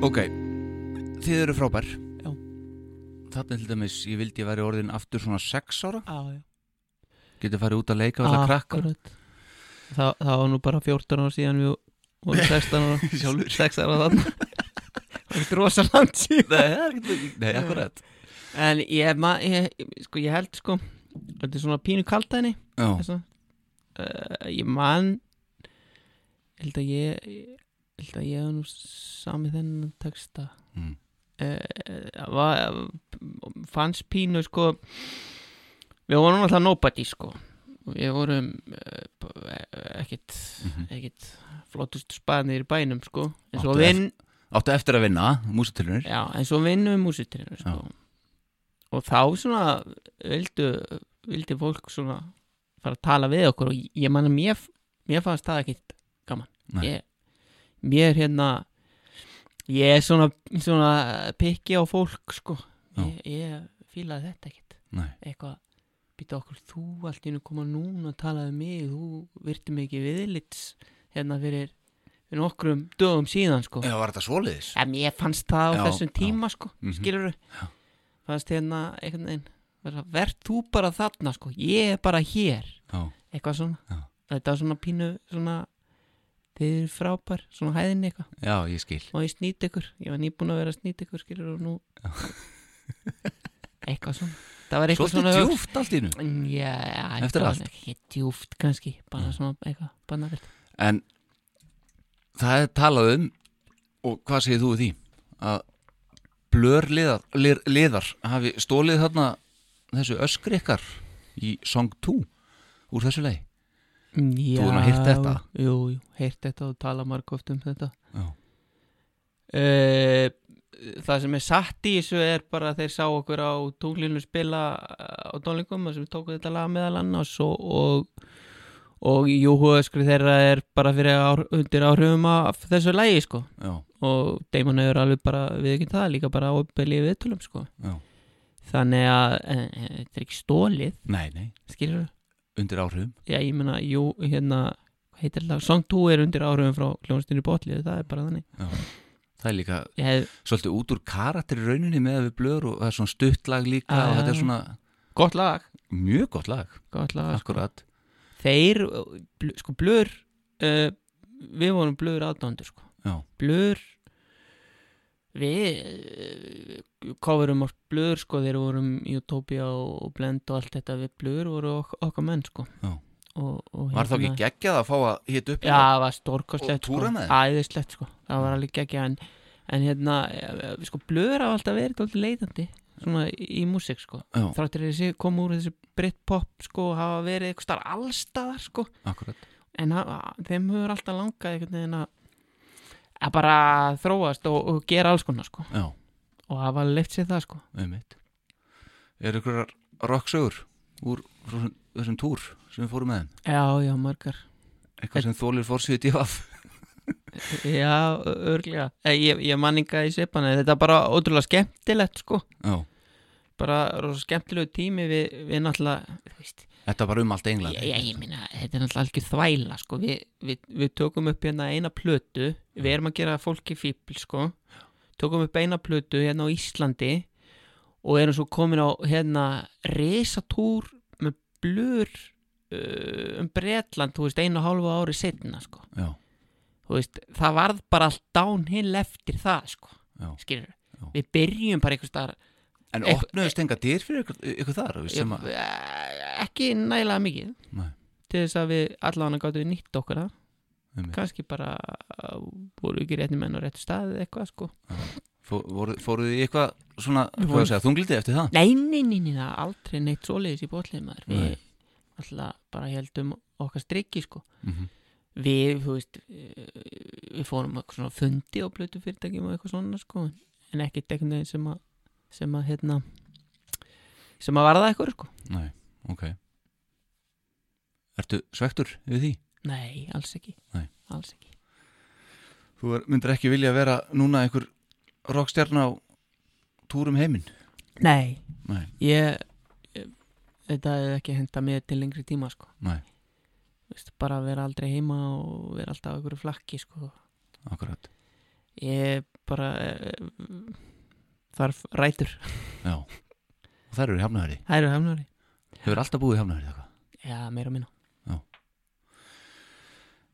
Speaker 1: Ok, þið eru frábær
Speaker 2: Já.
Speaker 1: Þarna til dæmis, ég vildi ég væri orðin aftur svona sex ára
Speaker 2: Já, já.
Speaker 1: Getið farið út að leika við það krakka
Speaker 2: Ah, Akkurat. Það, það var nú bara 14 ára síðan við vorum 16 ára
Speaker 1: Sjálfur.
Speaker 2: 6 ára þarna Það er drosa langt síðan
Speaker 1: Nei, það er ekki- nei, akkurat
Speaker 2: En ég, ma, ég, sko, ég held sko Þetta er svona pínu kaldæni
Speaker 1: Já,
Speaker 2: eh, þess að, uh, Ég man Ég held að ég held að ég hef nú samið þennan texta
Speaker 1: Mm.
Speaker 2: uh, var, fannst pínu sko við vorum alltaf nobody sko við vorum uh, ekkit,
Speaker 1: mhm.
Speaker 2: ekkit flottust spanir í bænum sko en svo,
Speaker 1: Áttu
Speaker 2: vin,
Speaker 1: Áttu eftir að vinna, músitilunir
Speaker 2: já, en svo vinnum við músitrinu sko. og þá svona vildu, vildi fólk svona fara að tala við okkur og ég man að mér, mér fannst það ekkit
Speaker 1: Nei.
Speaker 2: ég, mér hérna ég er svona, svona pikki á fólk sko
Speaker 1: Já.
Speaker 2: ég, ég fílaði þetta ekkit
Speaker 1: Nei.
Speaker 2: eitthvað býta okkur þú allt í einu koma núna að tala um mig þú virti mig ekki viðlits hérna fyrir, fyrir nokkrum dögum síðan sko
Speaker 1: Já, var þetta svoleiðis?
Speaker 2: en ég fannst það á
Speaker 1: Já,
Speaker 2: þessum tíma sko
Speaker 1: Mhm.
Speaker 2: skilur fannst hérna einhvern veginn bara, verð þú bara þarna sko ég er bara hér
Speaker 1: Já,
Speaker 2: eitthvað svona
Speaker 1: Já.
Speaker 2: þetta var svona pínu svona þið eru frábær, svona hæðinni eitthvað
Speaker 1: já, ég skil
Speaker 2: og ég snýti ykkur, ég var nýbúin að vera að snýti ykkur skilur og nú eitthvað svona það var eitthvað
Speaker 1: Svolítið
Speaker 2: svona
Speaker 1: djúft allt í nú
Speaker 2: Mm, Já, já,
Speaker 1: Eftir
Speaker 2: það var
Speaker 1: allt.
Speaker 2: ekki djúft kannski, bara
Speaker 1: Mm.
Speaker 2: svona eitthvað bannavilt.
Speaker 1: En það er talað um og hvað segir þú við því? Að blör liðar, lir, liðar hafi stólið þarna þessu öskri ykkar í Song 2 úr þessu lei
Speaker 2: Já,
Speaker 1: hefur nú heyrt þetta?
Speaker 2: Jú, jú, heyrt þetta og tala marg oft um þetta.
Speaker 1: Já,
Speaker 2: Uh, það sem er satt í þessu er bara að þeir sá okkur á tunglinu spila eh, á tónlingum þar sem við tókum þetta lag meðal annars og, og, og júhuöskri þeirra er bara fyrir ár, undir áhrifum af þessu lægi sko
Speaker 1: já,
Speaker 2: og Damon hefur alveg bara við ekki það líka bara ábelið viðtölum sko
Speaker 1: já
Speaker 2: þannig að eh, eh, þetta er ekki stólið
Speaker 1: Nei, nei,
Speaker 2: skilur
Speaker 1: undir áhrifum
Speaker 2: já ég meina, jú, hérna hvað heitir þetta, Song 2 er undir áhrifum frá hljónstinu botlið, það er bara þannig
Speaker 1: Það er líka
Speaker 2: ég hef
Speaker 1: svolítið út úr karakter í rauninni með að við blör og það er svona stuttlag líka
Speaker 2: Ah.
Speaker 1: og þetta er svona
Speaker 2: gott lag,
Speaker 1: mjög gott lag
Speaker 2: gott lag sko.
Speaker 1: Akkurat
Speaker 2: þeir, uh, bl- sko blur uh, við vorum blur aðdándur sko.
Speaker 1: Já.
Speaker 2: blur við uh, coverum oft blur sko þegar við vorum í Utopia og, og Blend og allt þetta við blur voru ok okkar menn sko
Speaker 1: Já.
Speaker 2: og, og
Speaker 1: Var það
Speaker 2: hérna-
Speaker 1: ekki geggjað að fá að hita upp
Speaker 2: Já, það var
Speaker 1: Og
Speaker 2: stórkostlegt sko.
Speaker 1: túra með þeim?
Speaker 2: Æðislegt sko, það var alveg geggja en, en hérna, eh, sko, blöður hafa alltaf verið alltaf leitandi svona í, í músík sko
Speaker 1: Já,
Speaker 2: þráttir þessi koma úr þessu Britpop sko, hafa verið eitthvað starf allstaðar sko
Speaker 1: akkurat
Speaker 2: en hafa, þeim hefur alltaf langað einhvern veginn að að bara þróast og, og gera alls konar sko
Speaker 1: Já,
Speaker 2: og hafa leitt sér það sko
Speaker 1: um mitt Er ykkur rocksögur úr frá þessum- þessum túr sem við fórum með þeim?
Speaker 2: Já, já, margar
Speaker 1: Eitthvað sem þólir fórsýði divaf
Speaker 2: Já, örglega Ég, ég manninga í sveipana, þetta er bara ótrúlega skemmtilegt sko
Speaker 1: Já,
Speaker 2: bara rosa skemmtilegu tími við, við náttúrulega þú veist,
Speaker 1: þetta var um allt England
Speaker 2: ég, ég, ég meina, þetta er náttúrulega algjör þvæla sko. við, við, við tókum upp hérna eina plötu við erum að gera fólki fíbl sko. tókum upp eina plötu hérna á Íslandi og erum svo komin á hérna resatúr með blur uh, um Bretland, þú veist, einu og hálfu ári setna sko.
Speaker 1: Já,
Speaker 2: Þú veist, það varð bara allt downhill eftir það sko.
Speaker 1: Já.
Speaker 2: skilur
Speaker 1: Já.
Speaker 2: við byrjum bara einhvers staðar
Speaker 1: En
Speaker 2: Eitthvað-
Speaker 1: opnuðust enga dyr fyrir ykkur, ykkur þar þú veist, sem að,
Speaker 2: Eh, ekki nægilega mikið
Speaker 1: Nei.
Speaker 2: til þess að við allavega gáttum við nýtt okkur það
Speaker 1: Einmitt.
Speaker 2: kannski bara eh, voru ekki réttni menn á réttu staði eða eitthvað sko
Speaker 1: fó- voru- fóruð þið í eitthvað svona
Speaker 2: Við
Speaker 1: hvað
Speaker 2: vorum-
Speaker 1: ég segja, þunglitið eftir það?
Speaker 2: nei, nei, nei, nei, það er aldrei neitt svoleiðis í bótlið maður
Speaker 1: Nei.
Speaker 2: við alltaf bara heldum okkar strikki sko
Speaker 1: Mm -hmm.
Speaker 2: við, þú veist eh, við fórum á eitthvað svona fundi á blötu fyrirtækjum og eitthvað svona sko en ekki degnið sem að sem að hérna sem að varða eitthvað sko
Speaker 1: Nei, ok Ertu svektur við því?
Speaker 2: nei, alls ekki
Speaker 1: Nei.
Speaker 2: alls ekki
Speaker 1: Þú er- myndir ekki vilja vera núna einhver rockstjarn á túrum heiminn?
Speaker 2: nei,
Speaker 1: Nei,
Speaker 2: ég, ég þetta hefði ekki henda mér til lengri tíma sko
Speaker 1: nei,
Speaker 2: Vist, bara að vera aldrei heima og vera alltaf á einhverju flakki sko
Speaker 1: akkurat
Speaker 2: ég bara eh, þarf rætur
Speaker 1: Já, og það eru í hafnaðari
Speaker 2: það eru hefnari,
Speaker 1: Hefur alltaf búið í hafnaðari eitthvað
Speaker 2: já meira og minna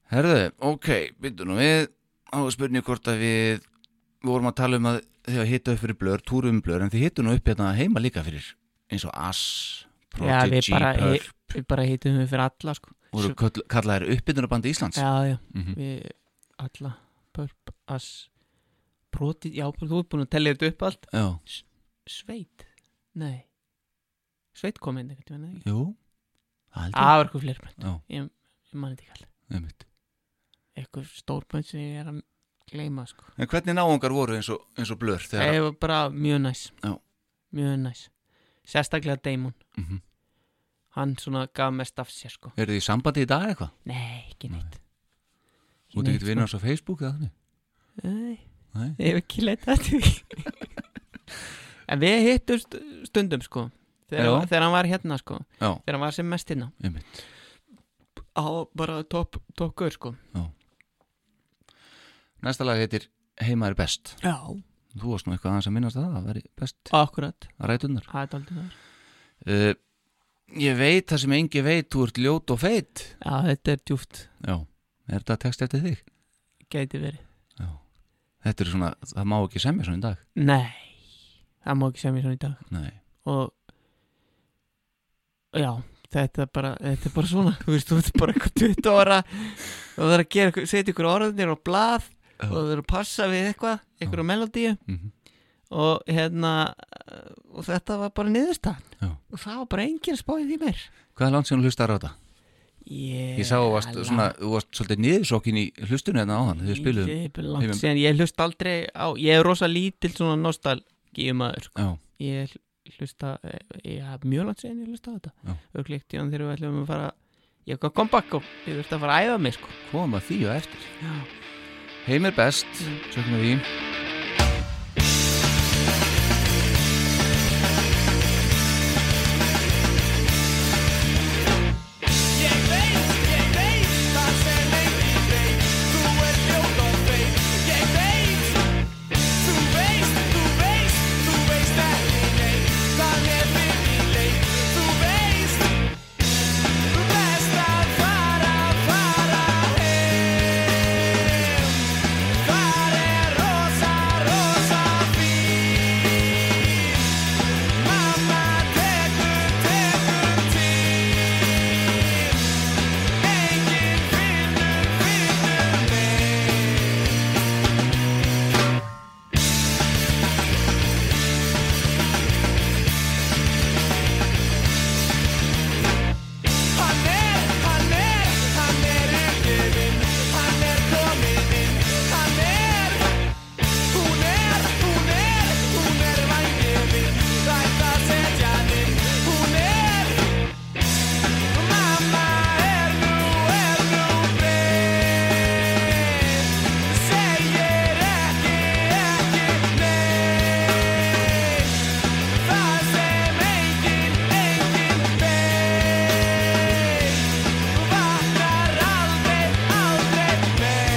Speaker 1: Herðu, ok, byrju nú við á að spurning hvort að við vorum að tala um að þið að hita upp fyrir blör, túrum blör en þið hitu nú upp hérna heima líka fyrir eins og Ass,
Speaker 2: Já, við
Speaker 1: Prodigy,
Speaker 2: bara-
Speaker 1: Pearl
Speaker 2: við bara hittum við fyrir alla sko
Speaker 1: voru köll- kallaðir uppbytunarbandi Íslands
Speaker 2: já já,
Speaker 1: Mhm.
Speaker 2: við alla Purpose Brotið, já, þú ert búin að tella þetta upp allt
Speaker 1: já,
Speaker 2: Sveit, nei Sveit kom inn einhvern veginn eða ekki?
Speaker 1: jú það held
Speaker 2: Það var eitthvað fleiri bönd
Speaker 1: Já.
Speaker 2: Ég, ég mani þetta ekki alltaf
Speaker 1: ég einmitt.
Speaker 2: Eitthvað stór bönd sem ég er að gleyma sko.
Speaker 1: en hvernig náungar voru eins og, eins og blör þegar
Speaker 2: Það var bara mjög næs
Speaker 1: Já.
Speaker 2: Mjög næs Sérstaklega Damon
Speaker 1: mm -hmm.
Speaker 2: Hann svona gaf mest af sér sko
Speaker 1: er þið í sambandi í dag eitthvað?
Speaker 2: Nei, ekki
Speaker 1: Nei.
Speaker 2: neitt
Speaker 1: Þú
Speaker 2: sko.
Speaker 1: ert ekkert vinnast á Facebook eða þannig?
Speaker 2: Nei,
Speaker 1: Nei.
Speaker 2: ég hef ekki leitt að því En við hittum st- stundum sko þegar,
Speaker 1: Já.
Speaker 2: þegar hann var hérna sko
Speaker 1: Já,
Speaker 2: Þegar hann var sem mest hérna
Speaker 1: einmitt.
Speaker 2: Á bara topp top gaur sko
Speaker 1: Næsta lag heitir Heima er best.
Speaker 2: Já
Speaker 1: Þú varst nú eitthvað aðeins að minnast að það, það væri best
Speaker 2: Akkurat,
Speaker 1: að rætunar.
Speaker 2: það er daldið þar
Speaker 1: Uh, ég veit það sem engi veit, þú ert ljót og feit.
Speaker 2: Já, þetta er djúft,
Speaker 1: Já, er þetta text eftir þig?
Speaker 2: gæti verið
Speaker 1: Já. Þetta er svona, það má ekki semja svona í dag.
Speaker 2: Nei, það má ekki segja mér svona í dag
Speaker 1: Nei.
Speaker 2: og já, þetta er bara, þetta er bara svona þú veist, þú ert bara eitthvað 20 ára og það er að gera, eitthvað- setja ykkur orðinir á blað
Speaker 1: Já.
Speaker 2: og það er að passa við eitthvað ykkur á melodíu
Speaker 1: Mm
Speaker 2: og hérna eh, og þetta var bara niðurstaðan
Speaker 1: Já.
Speaker 2: og það var bara enginn spáðið í mér
Speaker 1: Hvað er langt sem þú hlustar á þetta?
Speaker 2: yeah,
Speaker 1: Ég sá að þú varst, svona, þú varst svolítið niðursokkin í hlustunni hérna á hann þegar við spiluðum.
Speaker 2: spiluðum
Speaker 1: Heimum.
Speaker 2: ég, ég hlust aldrei á, ég er rosa lítill svona nostalgíumaður
Speaker 1: Já,
Speaker 2: ég hlusta eh, ég haf mjög langt séðan ég hlusta á
Speaker 1: Já.
Speaker 2: þetta örglikt í hann þegar við ætlum að fara ég kom kom bakk og ég þurfti að fara að æfa mig sko
Speaker 1: koma því og eftir.
Speaker 2: Já.
Speaker 1: Heim er best, sökum við því.
Speaker 3: Ég veit, ég veit, það sem enginn veit Þú ert ljót og feit Ég veit, þú veist, þú veist, þú veist ekki neitt Það er minni leit Þú veist, þú best að fara, fara heim Það er rosa, rosa fín Mamma tekur, tekur til Enginn finnur, finnur mig Hann er, hann er, hann er uppgefinn Hann er kominn inn Hann er, hún er, hún er, hún er vængefinn Rætt að setja hann inn Hún er, mamma er nú, er nú breytt Segir ekki, ekki neitt Það sem enginn, enginn veit Vaknar aldrei, aldrei meir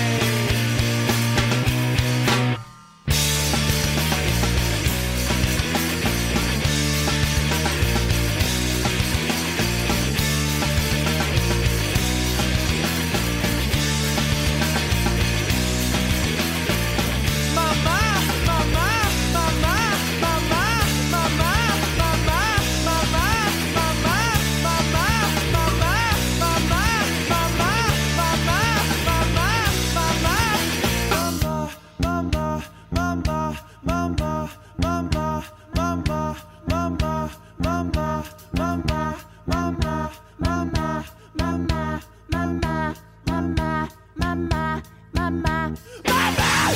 Speaker 3: Mamma, mamma, mamma, mamma, mamma, mamma, mamma, mamma, mamma, mamma, mamma, mamma, mamma, mamma, mamma, mamma, mamma, mamma, mamma, mamma, mamma, mamma, mamma, mamma, mamma, mamma, mamma, mamma, mamma, mamma, mamma.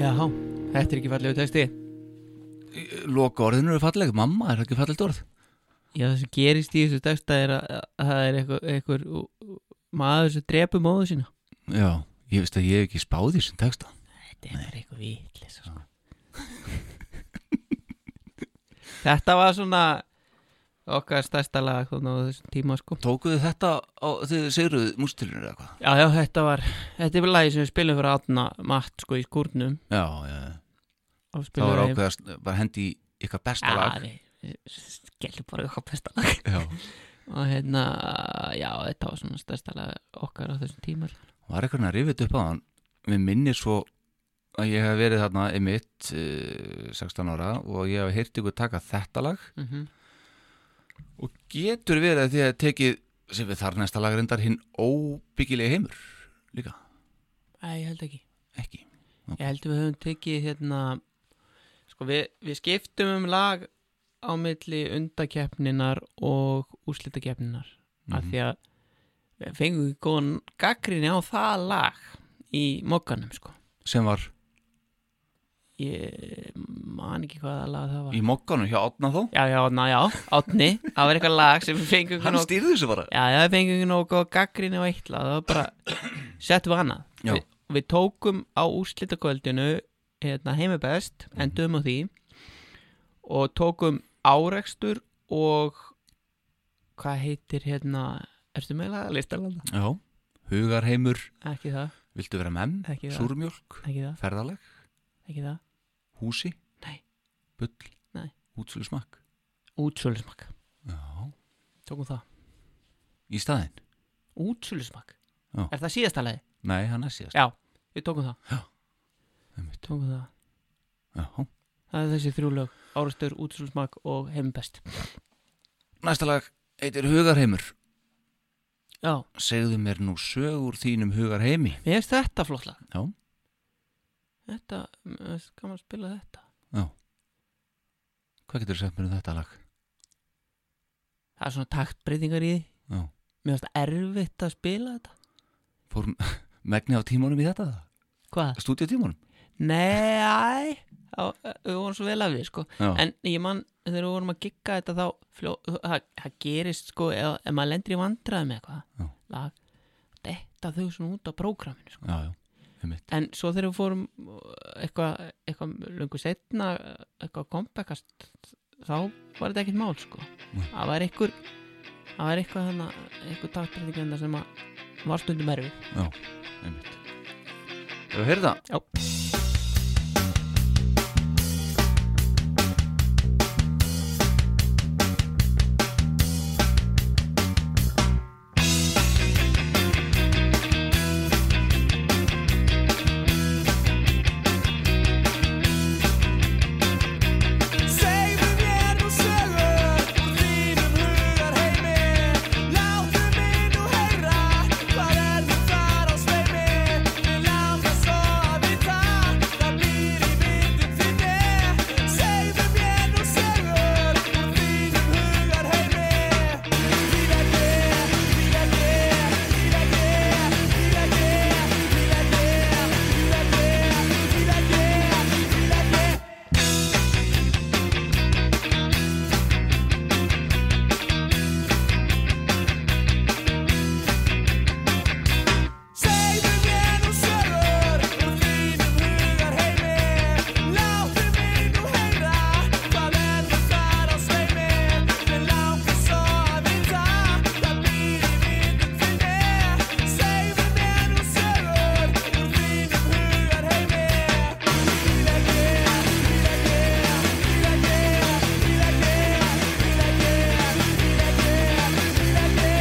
Speaker 2: já, þetta er ekki fallegu texti
Speaker 1: Loka orðinu eru falleg, mamma er það ekki fallegt orð.
Speaker 2: já, það sem gerist í þessu texta er að, að það er einhver, einhver ú- ú- maður sem drepur móðu sína
Speaker 1: Já, ég veist að ég hef ekki spáð því sem texta.
Speaker 2: þetta er bara eitthvað vitlis sko. þetta var svona okkar stærsta lag þannig á þessum tíma sko
Speaker 1: Tókuðu þetta á, þið segruðu mústilunir eða hvað?
Speaker 2: Já, já, þetta var, þetta er lagi sem við spilum fyrir átna matt sko í skúrnum
Speaker 1: Já, já, já. það var ákveðast, bara hendi í ykkar besta lag
Speaker 2: Já, við skellum bara okkar besta lag
Speaker 1: Já.
Speaker 2: og hérna, já, þetta var svona stærsta lag okkar á þessum tíma sko.
Speaker 1: Var eitthvað að rifið upp á hann Mér minnir svo að ég hef verið þarna emitt uh, 16 ára og ég hef heyrt ykkur taka þetta lag
Speaker 2: mm -hmm.
Speaker 1: og getur verið að því að tekið sem við þar næsta lag reyndar hinn óbyggilegi heimur líka,
Speaker 2: Æ, ég held ekki
Speaker 1: ekki
Speaker 2: Ég held að við höfum tekið hérna Sko við, við skiptum um lag á milli undakeppninar og úrslitakeppninar af því að við fengum við góðan gaggrinni á það lag í mokkanum sko
Speaker 1: sem var
Speaker 2: Ég man ekki hvaða lag það var
Speaker 1: í mokkanum hjá Otna þó
Speaker 2: Já, já, na, já, átni Það var eitthvað lag sem við fengum ekki
Speaker 1: hann
Speaker 2: nóg
Speaker 1: stýrði þessu bara
Speaker 2: Já, já, við fengum ekki nóg góð gaggrinni á eitt lag Það var bara, settum við annað
Speaker 1: Já.
Speaker 2: Vi, Við tókum á úrslitaköldinu hérna, heimibest, endum á því og tókum árekstur og hvað heitir hérna ertu með laga listalanda?
Speaker 1: Já. hugarheimur,
Speaker 2: Ekki það,
Speaker 1: viltu vera menn
Speaker 2: Ekki það.
Speaker 1: súrmjólk,
Speaker 2: ekki það,
Speaker 1: ferðaleg
Speaker 2: ekki það
Speaker 1: húsi,
Speaker 2: Nei.
Speaker 1: bull
Speaker 2: Nei.
Speaker 1: útsölu smakk
Speaker 2: Útsölusmakk,
Speaker 1: Já.
Speaker 2: tókum það
Speaker 1: í staðinn,
Speaker 2: Útsölusmakk,
Speaker 1: Já.
Speaker 2: er það síðasta lagi?
Speaker 1: nei hann er síðast
Speaker 2: Já, við tókum það
Speaker 1: Já. Einmitt.
Speaker 2: Tókum það,
Speaker 1: Já.
Speaker 2: það er þessi þrjúlög árekstur, útsölusmakk og heimibest
Speaker 1: næsta lag eitir hugarheimur
Speaker 2: Já,
Speaker 1: segðu mér nú sögur þínum hugarheimi
Speaker 2: mér finnst þetta flott lag
Speaker 1: Já.
Speaker 2: Þetta, mér finnst gaman að spila þetta
Speaker 1: hvað getur þú sagt mér um þetta lag?
Speaker 2: Það er svona taktbreytingar í því
Speaker 1: Já.
Speaker 2: Mér finnst erfitt að spila þetta
Speaker 1: fór megni á tímanum í þetta
Speaker 2: Hvað?
Speaker 1: stúdíotímanum
Speaker 2: Nei, æ á, Við vorum svo vel af því sko
Speaker 1: Já.
Speaker 2: En ég man, þegar við vorum að gigga þetta þá fljó, það, það gerist sko ef, ef maður lendir í vandræði með
Speaker 1: Já.
Speaker 2: eitthvað lag, Detta þau svona út á prógraminu sko.
Speaker 1: já, já, einmitt
Speaker 2: En svo þegar við fórum uh, eitthvað eitthva lungu setna eitthvað kompekast þá var þetta ekkert mál sko
Speaker 1: Nei.
Speaker 2: það var einhver það var eitthvað þannig eitthvað taktræðingjönda sem að var stundum erfið
Speaker 1: Já, einmitt Hefur þú heyrið það?
Speaker 2: Já.
Speaker 3: Segðu mér nú sögur úr þínum hugarheimi Láttu mig nú heyra hvað er nú þar á sveimi Við langar svo að vita hvað býr í myndum þinni Segðu mér nú sögur úr þínum hugarheimi Lífandi, lífandi, lífandi, lífandi, lífandi, lífandi, lífandi, lífandi Segðu mér nú sögur úr þínum hugarheimi Láttu mig nú heyra hvað er það þar á sveimi Mér langar svo að vita hvað býr í vitum þinni Segðu mér nú sögur úr þínum hugarheimi Íleggi, íleggi, íleggi, íleggi, íleggi, íleggi, íleggi, íleggi, íleggi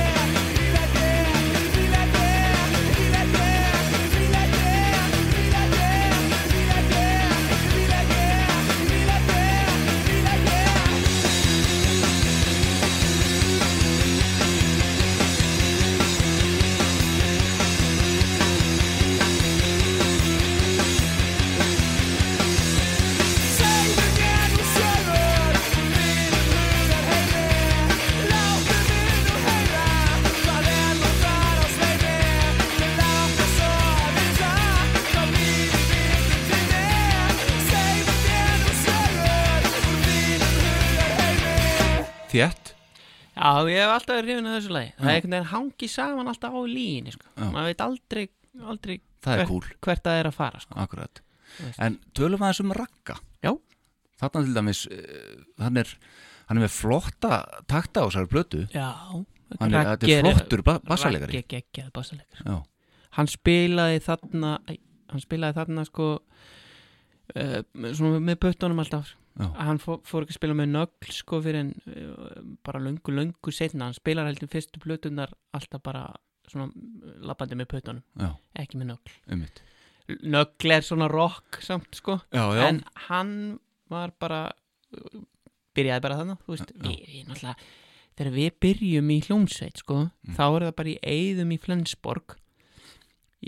Speaker 3: Segðu mér nú sögur úr þínum hugarheimi Láttu mig nú heyra hvað er nú þar á sveimi Mér langar svo að vita hvað býr í vitum þinni Segðu mér nú sögur úr þínum hugarheimi
Speaker 1: Þétt?
Speaker 2: Já, ég hef alltaf verið hrifin að þessu lagi það er einhvern veginn hangi saman alltaf á líni sko.
Speaker 1: Já.
Speaker 2: maður veit aldrei, aldrei
Speaker 1: Það er
Speaker 2: hvert,
Speaker 1: kúl,
Speaker 2: hvert það er að fara sko.
Speaker 1: akkurat
Speaker 2: Þú veist.
Speaker 1: En tölum aðeins um rakka
Speaker 2: Já.
Speaker 1: Þarna til dæmis, uh, hann er hann er með flotta takta á þessari plötu
Speaker 2: Já
Speaker 1: hann er, þetta er flottur ba bassalegari
Speaker 2: Raggi geggjað bassalegari
Speaker 1: Já.
Speaker 2: Hann spilaði þarna æ, Hann spilaði þarna sko uh, Svona með puttunum alltaf
Speaker 1: Já.
Speaker 2: Hann fór, fór ekki að spila með nögl sko fyrir en uh, bara löngu, löngu setna Hann spilar heldur fyrstu plötunar alltaf bara svona lappandi með puttunum
Speaker 1: Já,
Speaker 2: Ekki með nögl
Speaker 1: einmitt
Speaker 2: Nögl er svona rock samt sko
Speaker 1: Já, já,
Speaker 2: en hann var bara byrjaði bara þannig þú veist, við, við náttúrulega þegar við byrjum í hljómsveit sko,
Speaker 1: Mm.
Speaker 2: þá er það bara í eigðum í Flensborg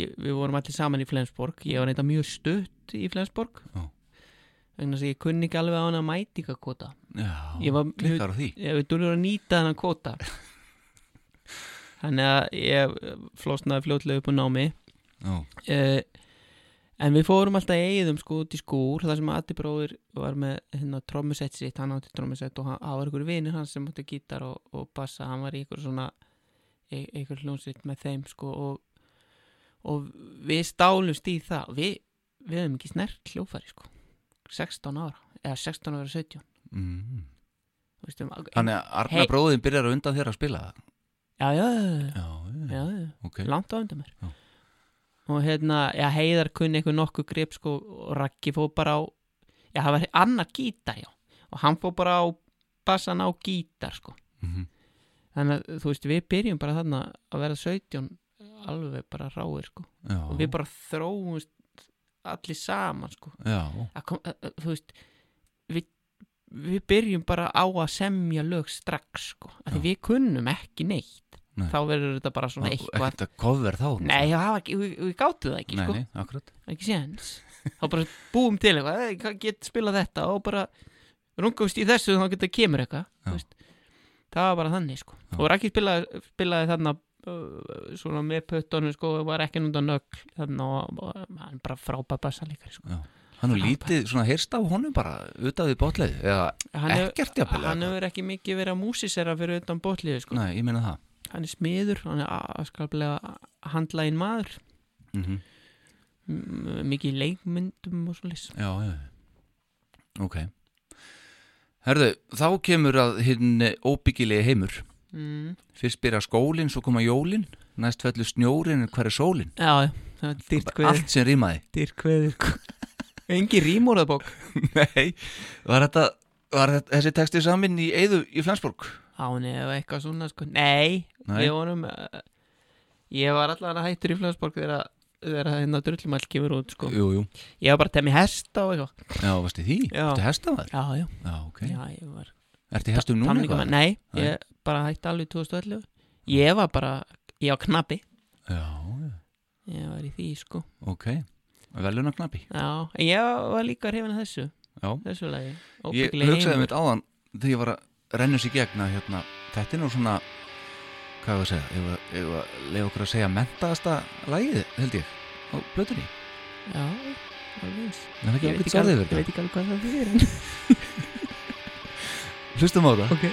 Speaker 2: ég, við vorum allir saman í Flensborg ég var eitthvað mjög stutt í Flensborg
Speaker 1: Já.
Speaker 2: vegna þess að ég kunni ekki alveg á hana mætingakota Ég
Speaker 1: já
Speaker 2: var mjög-
Speaker 1: klikkar á því
Speaker 2: ég við dúlur að nýta þennan kota þannig að ég flosnaði fljótlega upp á námi
Speaker 1: Já,
Speaker 2: uh, en við fórum alltaf í eigðum sko út í skúr þar sem Addi bróðir var með hérna trommusett sitt, hann átti trommusett og hann hann var ykkur vinur hans sem átti gítar og, og bassa, hann var í ykkur svona í- ykkur hljónsitt með þeim sko og, og við stálumst í það við, við hefum ekki snert hljófari sko 16 ára, eða 16 ára 17
Speaker 1: mm.
Speaker 2: þú veist, um,
Speaker 1: Þannig að Arna
Speaker 2: Hey.
Speaker 1: hey. byrjar að undan þér að spila það
Speaker 2: já, já, já,
Speaker 1: Já,
Speaker 2: já, já
Speaker 1: ok
Speaker 2: langt á undan mér
Speaker 1: Já.
Speaker 2: og hérna, já, heiðar kunni einhver nokkuð grip sko, og Raggi fór bara á já, það var annar gítar, já og hann fór bara á bassan á gítar sko,
Speaker 1: Mhm.
Speaker 2: þannig að þú veist, við byrjum bara þarna að vera 17 alveg bara ráir sko
Speaker 1: Já,
Speaker 2: og við bara þróumst allir saman sko
Speaker 1: já,
Speaker 2: að kom, að, að, þú veist við, við byrjum bara á að semja lög strax sko, af því
Speaker 1: Já.
Speaker 2: við kunnum ekki neitt
Speaker 1: Nei.
Speaker 2: þá verður þetta bara svona eitthvað
Speaker 1: Ekkert að cover þá
Speaker 2: Nei, það var ekki, við, við gátum það ekki,
Speaker 1: nei,
Speaker 2: sko,
Speaker 1: nei, akkurat
Speaker 2: nei. ekki séns Þá bara búum til eitthvað, "Ey, hvað get spilað þetta og bara rungumst í þessu þá geta kemur eitthvað,
Speaker 1: Já.
Speaker 2: þú veist Það var bara þannig, sko,
Speaker 1: Já.
Speaker 2: og Raki spilaði, spilaði þarna uh, svona með pötunum, sko, var ekki núnda nögl þarna og, og hann bara frábæð bassalíkari, sko
Speaker 1: Hann er
Speaker 2: Já,
Speaker 1: lítið, svona heyrst á honum bara Utað við bótleið Eða
Speaker 2: Hann hefur-
Speaker 1: ekkert jafnvel eða
Speaker 2: Hann
Speaker 1: hvað?
Speaker 2: hefur ekki mikið verið að músisera fyrir utan bótliðu, sko
Speaker 1: Nei, ég meina það
Speaker 2: Hann er smiður, hann er afskaplega handlægin maður
Speaker 1: mm
Speaker 2: m- mikið í leikmyndum og svo
Speaker 1: Já, já, já Ok Herðu, þá kemur að hinn óbyggilegi heimur
Speaker 2: mm.
Speaker 1: Fyrst byrja skólinn, svo koma jólinn Næst fellur snjórinn, en hver er sólinn?
Speaker 2: Já, já, það er dýrt kveður
Speaker 1: Allt sem rýmaði
Speaker 2: Dýrt sko. kveður Engi rímúraðbók
Speaker 1: Nei, var þetta Var þetta, þessi texti samin í Eyðu í Flensborg?
Speaker 2: Án eða eitthvað svona sko Nei,
Speaker 1: Nei.
Speaker 2: ég vorum uh, Ég var allan að hættur í Flensborg þegar þegar það hérna drullumall kemur út sko
Speaker 1: Jú, jú
Speaker 2: Ég var bara að temja hesta og eitthvað
Speaker 1: Já, varstu í því?
Speaker 2: Já.
Speaker 1: Ertu hestamaður?
Speaker 2: Já, já,
Speaker 1: Já, ok
Speaker 2: já, ég var
Speaker 1: Ertu í hestum núna
Speaker 2: tamningamaður.
Speaker 1: eitthvað?
Speaker 2: Nei, ég bara hætti alveg 2011 Ég var bara, ég var knappi
Speaker 1: Já, já,
Speaker 2: Ég var í því sko
Speaker 1: ok Veluna knapi
Speaker 2: Já, en ég var líka hrifin að þessu
Speaker 1: Já
Speaker 2: Þessu lagi
Speaker 1: Ég
Speaker 2: Óbyggileg
Speaker 1: hugsaði
Speaker 2: heimur.
Speaker 1: mitt áðan þegar ég var að renna sér gegna hérna, þetta er nú svona hvað var að segja, ég var, ég var að leiða okkur að segja mentaðasta lagið, held ég á blötunni,
Speaker 2: Já, alveg eins
Speaker 1: en það er ekki
Speaker 2: Ég veit
Speaker 1: ekkert
Speaker 2: ekki
Speaker 1: svarðið
Speaker 2: alveg- ég
Speaker 1: verið
Speaker 2: veit ekki alveg hvað það fyrir
Speaker 1: þetta hlustum á það
Speaker 2: Ok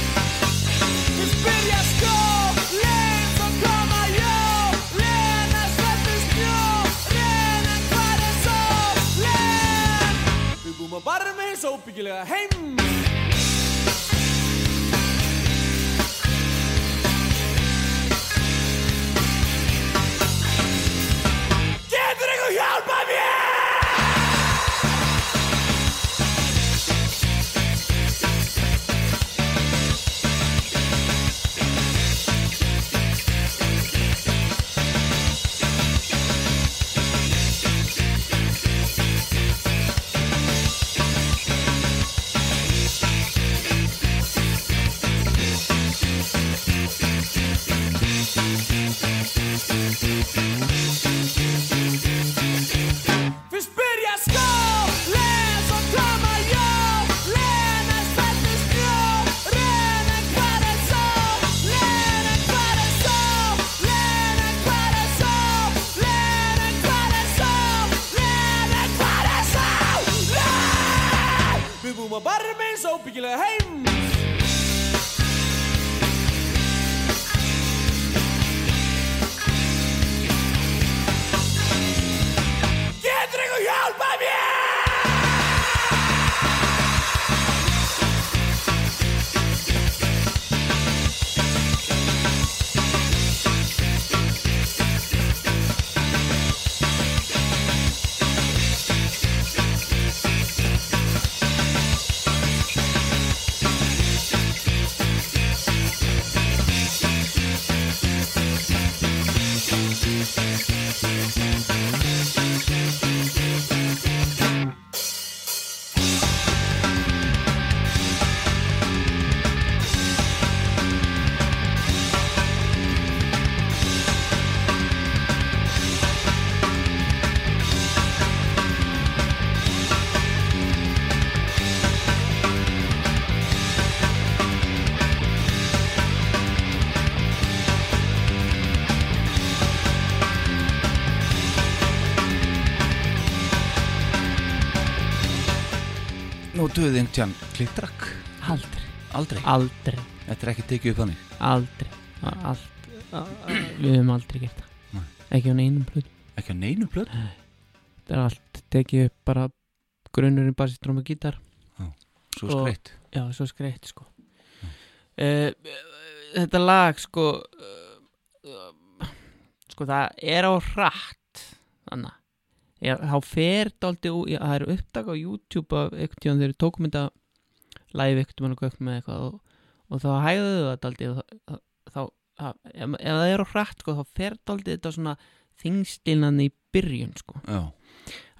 Speaker 3: Við byrja skólinn, svo sko, koma jólinn, að svefnum snjórinn, en hvað er sólinn? Við búum að barmi hins óbyggilega heim. Getur einhver hjálpað mér? Fyrst byrja skólinn, svo koma jólinn, að svefnum snjórinn, en hvað er sólinn, en hvað er sólinn, en hvað er sólinn, en hvað er sólinn, en hvað er sólinn? Við búum að barmi eins óbyggilega heim.
Speaker 1: Einn og döðin tján klittrakk
Speaker 2: Aldrei,
Speaker 1: Aldrei,
Speaker 2: Ah. aldrei,
Speaker 1: þetta er ekki tekið upp þannig
Speaker 2: aldrei Það er allt, a- a- Við höfum aldrei gert
Speaker 1: Nei.
Speaker 2: það Ekki á neinum plötu
Speaker 1: Ekki á neinu plötu
Speaker 2: Það er allt, tekið upp bara grunnurinn bara sér dróma gítar
Speaker 1: Svo
Speaker 2: Og-
Speaker 1: skreitt
Speaker 2: Já, svo skreitt sko uh, Þetta lag sko uh, Sko það er á rætt Þannig Já, þá fer dálítið úr, já, það eru upptak á YouTube af einhvern tíðan þeir tókum þetta live einhvern tíðan og gökkum með eitthvað og, og þá hægðu það dálítið og þá, þá það- ef, ef það er á hratt sko, þá fer dálítið þetta svona þingstilnan í byrjun sko.
Speaker 1: Já,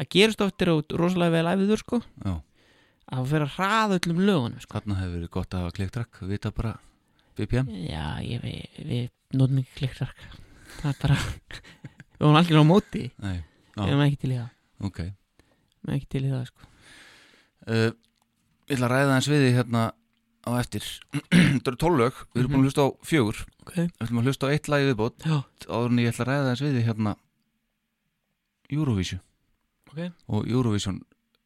Speaker 2: Það gerist oftir og rosalega vel æfiður sko,
Speaker 1: já
Speaker 2: að það fer að hraða öllum lögunum sko.
Speaker 1: Þarna hefur verið gott að hafa klittrakk Vita bara BPM
Speaker 2: Já, ég, við, við notum ekki klikkrakk Það er bara Við vorum algjörlega á móti því.
Speaker 1: Nei, Já.
Speaker 2: Við erum ekki til í það
Speaker 1: ok
Speaker 2: Við erum ekki til í það sko
Speaker 1: uh, Ég ætla að ræða eins við þig hérna á eftir Þetta eru tólög, við
Speaker 2: Mhm.
Speaker 1: erum búin að hlusta á fjögur
Speaker 2: Ok
Speaker 1: Við ætlum að hlusta á eitt lagi viðbót
Speaker 2: Já,
Speaker 1: áður en ég ætla að ræða eins við þig hérna Eurovision
Speaker 2: ok
Speaker 1: og Eurovision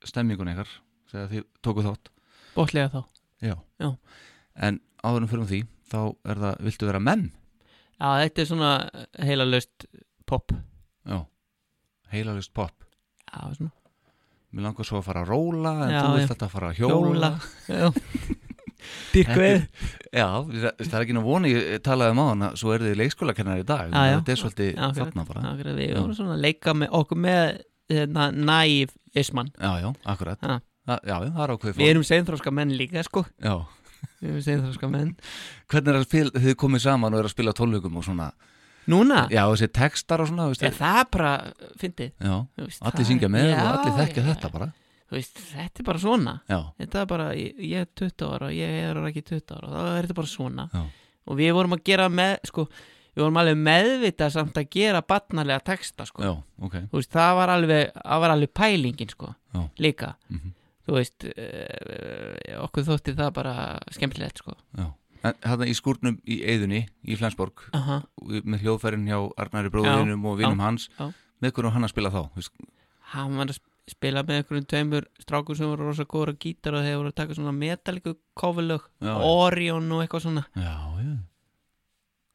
Speaker 1: stemmingun ykkar þegar þið tókuð þátt
Speaker 2: Bóttlega þá
Speaker 1: Já.
Speaker 2: Já.
Speaker 1: En áður en fyrir um því þá er það, viltu vera menn?
Speaker 2: Já, þetta er svona heila löst pop
Speaker 1: Já Heilalist pop
Speaker 2: Já, svona
Speaker 1: Mér langar svo að fara að róla en
Speaker 2: Já,
Speaker 1: þú
Speaker 2: já.
Speaker 1: vilt þetta að fara að hjóla,
Speaker 2: Já Dyrkveð
Speaker 1: Já, það það er ekki nú voni ég talaði um á hana svo er þið leikskólakennar í dag
Speaker 2: Já, já.
Speaker 1: Þetta er svolítið
Speaker 2: Já, ok.
Speaker 1: þarna bara
Speaker 2: Við vorum svona að leika með okkur með hérna, næf isman
Speaker 1: Já, já, akkurat
Speaker 2: Ha.
Speaker 1: Þa, Já, já, það er ákveðið
Speaker 2: Við erum seinþróska menn líka sko
Speaker 1: Já,
Speaker 2: Við erum seinþróska menn
Speaker 1: hvernig er að spila, þið komið saman og er að spila tónleikum og svona
Speaker 2: Núna
Speaker 1: Já, þessi textar og svona, veist
Speaker 2: Er
Speaker 1: þið
Speaker 2: það bara fyndið
Speaker 1: Já,
Speaker 2: Þú veist,
Speaker 1: allir
Speaker 2: það-
Speaker 1: syngja með
Speaker 2: Já,
Speaker 1: og allir þekkja
Speaker 2: já.
Speaker 1: þetta bara
Speaker 2: Þú veist, þetta er bara svona
Speaker 1: Já,
Speaker 2: þetta er bara, ég, ég er 20 ára og ég er ekki 20 ára, þá er þetta bara svona
Speaker 1: Já.
Speaker 2: og við vorum að gera með sko, við vorum alveg meðvitað samt að gera batnarlega texta, sko
Speaker 1: já, ok
Speaker 2: þú veist, það var alveg, það var alveg pælingin sko,
Speaker 1: Já.
Speaker 2: líka
Speaker 1: mm
Speaker 2: þú veist, eh, okkur þótti það bara skemmtilegt, sko
Speaker 1: Já, en þarna í skúrnum í Eðunni í Flensborg,
Speaker 2: Aha.
Speaker 1: með hljóðfærin hjá Arnari bróðinum og vinum hans
Speaker 2: já.
Speaker 1: með hvernig hann að spila þá veist,
Speaker 2: hann var að sp- spila með einhverjum tveimur strákur sem voru rosa góður á gítar og þeir voru að taka svona metaliku kofulög,
Speaker 1: Já, já.
Speaker 2: Orion og eitthvað svona
Speaker 1: Já, já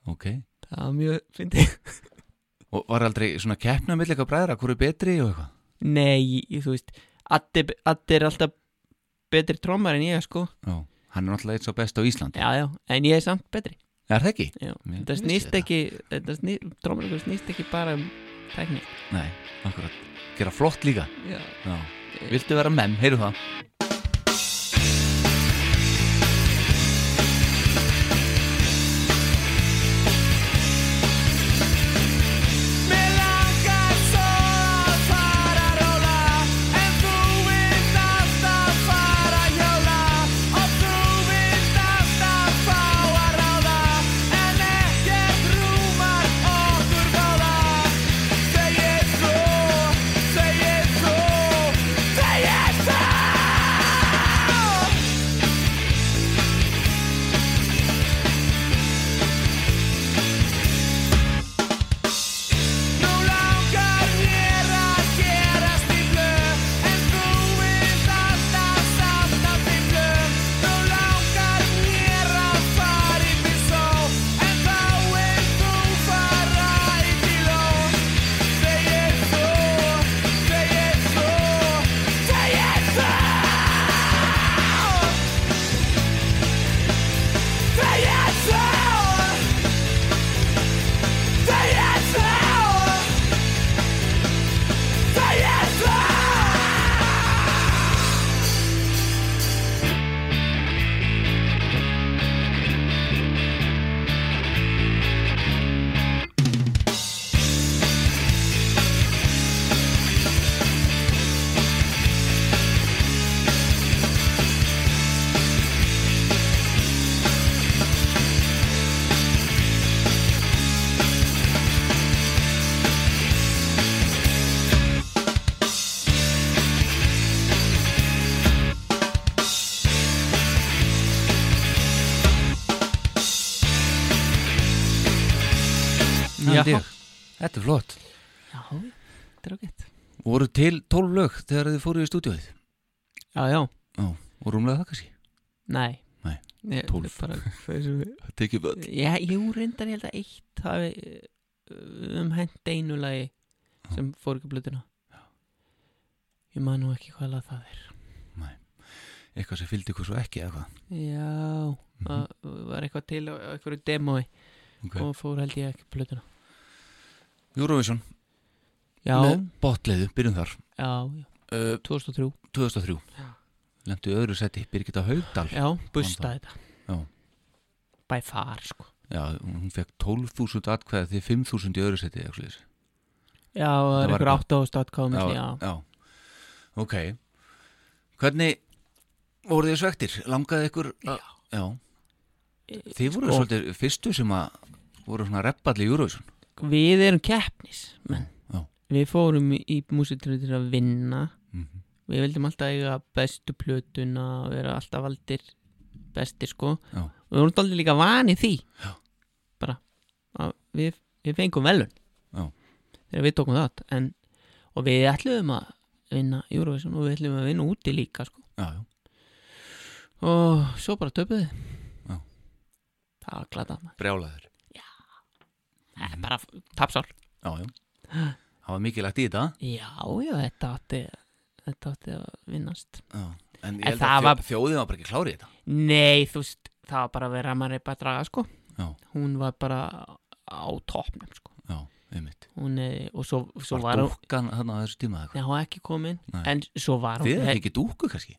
Speaker 1: Ok,
Speaker 2: það var mjög, fyndi
Speaker 1: og var aldrei svona keppna milli eitthvað bræðra, hvort er betri og eitthvað
Speaker 2: Nei, ég, þú veist Addi, Addi er alltaf betri trommar en ég sko
Speaker 1: Já, hann er náttúrulega eitt svo best á Íslandi
Speaker 2: Já, já, en ég er samt betri
Speaker 1: Er það ekki?
Speaker 2: já.
Speaker 1: Mér
Speaker 2: Þetta
Speaker 1: vissi
Speaker 2: snýst
Speaker 1: þetta.
Speaker 2: ekki þetta sný, Trommarleikur snýst ekki bara um tækni
Speaker 1: Nei, akkurat, gera flott líka
Speaker 2: Já,
Speaker 1: Já, viltu vera menn, heyrðu það
Speaker 3: Mér langar svo að fara að róla En þú vilt alltaf fara að hjála Og þú vilt alltaf fá að ráða En ekkert rúmar okkur báða Segir þú, segir þú, segir þú Nú langar hér að gera stíflu En þú vilt alltaf samt að bíflu Nú langar hér að fara í bísó En þá vilt þú fara í bíló Segir þú, segir þú, segir þú Segir þú Segir þú Segir þú
Speaker 1: Já.
Speaker 2: já,
Speaker 1: Þetta er flott
Speaker 2: já Þetta er ágætt
Speaker 1: Voru til tólf lög þegar þið fóruð í stúdíóið
Speaker 2: Já, já,
Speaker 1: Já. og rúmlega það kannski
Speaker 2: Nei
Speaker 1: Nei,
Speaker 2: Ég-
Speaker 1: tólf.
Speaker 2: bara, þessu-
Speaker 1: það tekið völd
Speaker 2: Já, jú, reyndar ég held að eitt hafi uh, um hent einu lagi sem fór ekki á blöðuna Ég man nú ekki hvað lag það er
Speaker 1: eitthvað sem fylgdi ykkur svo ekki eða hvað
Speaker 2: Já,
Speaker 1: Mhm.
Speaker 2: það var eitthvað til á á einhverju demói
Speaker 1: okay.
Speaker 2: og fór held ég ekki á blöðuna
Speaker 1: Eurovision,
Speaker 2: Já,
Speaker 1: með botleiðu, byrjum þar
Speaker 2: já, já,
Speaker 1: uh,
Speaker 2: 2003
Speaker 1: 2003
Speaker 2: Já.
Speaker 1: lendu í öðru seti Birgitta Haugdal
Speaker 2: Já, busta þetta
Speaker 1: Já.
Speaker 2: By far, sko
Speaker 1: Já, hún fekk 12.000 atkvæði því 5.000 í öðru seti eitthvað svoleiðis.
Speaker 2: Já, það er
Speaker 1: var
Speaker 2: einhver 8.com Já, já.
Speaker 1: já. ok hvernig voru þið svektir? Langaði ykkur að... já. þið voru
Speaker 2: Sko-
Speaker 1: svolítið fyrstu sem að voru svona reppalli í Eurovision
Speaker 2: Við erum keppnis menn.
Speaker 1: Já.
Speaker 2: Við fórum í- í músitröðu til að vinna
Speaker 1: mm
Speaker 2: Við vildum alltaf eiga bestu plötuna og vera alltaf valdir bestir sko
Speaker 1: Já.
Speaker 2: og við vorum alltaf líka vani því
Speaker 1: Já.
Speaker 2: bara að við, við fengum velun
Speaker 1: Já.
Speaker 2: þegar við tókum þátt en, og við ætluðum að vinna Eurovision og við ætluðum að vinna úti líka sko.
Speaker 1: já, já,
Speaker 2: og svo bara töpuði
Speaker 1: Já.
Speaker 2: það var glatað maður.
Speaker 1: brjálaður
Speaker 2: Það
Speaker 1: Mhm.
Speaker 2: er bara tapsál
Speaker 1: já, já, það var mikilvægt í þetta
Speaker 2: já, já, þetta átti þetta átti að vinnast
Speaker 1: já. en
Speaker 2: En
Speaker 1: ég held
Speaker 2: það
Speaker 1: að
Speaker 2: var-
Speaker 1: var... þjóðið var bara ekki klárið í þetta
Speaker 2: nei, þú veist, það var bara að vera að maður er bara að draga sko
Speaker 1: Já.
Speaker 2: hún var bara á toppnum sko
Speaker 1: já, einmitt
Speaker 2: hún, eh, og svo, svo
Speaker 1: var
Speaker 2: var hún
Speaker 1: dúkkan þarna á þessu tíma eða
Speaker 2: Nei, hún var ekki komin
Speaker 1: Nei.
Speaker 2: En svo var
Speaker 1: eitthvað
Speaker 2: hún
Speaker 1: þið er ekki dúku kannski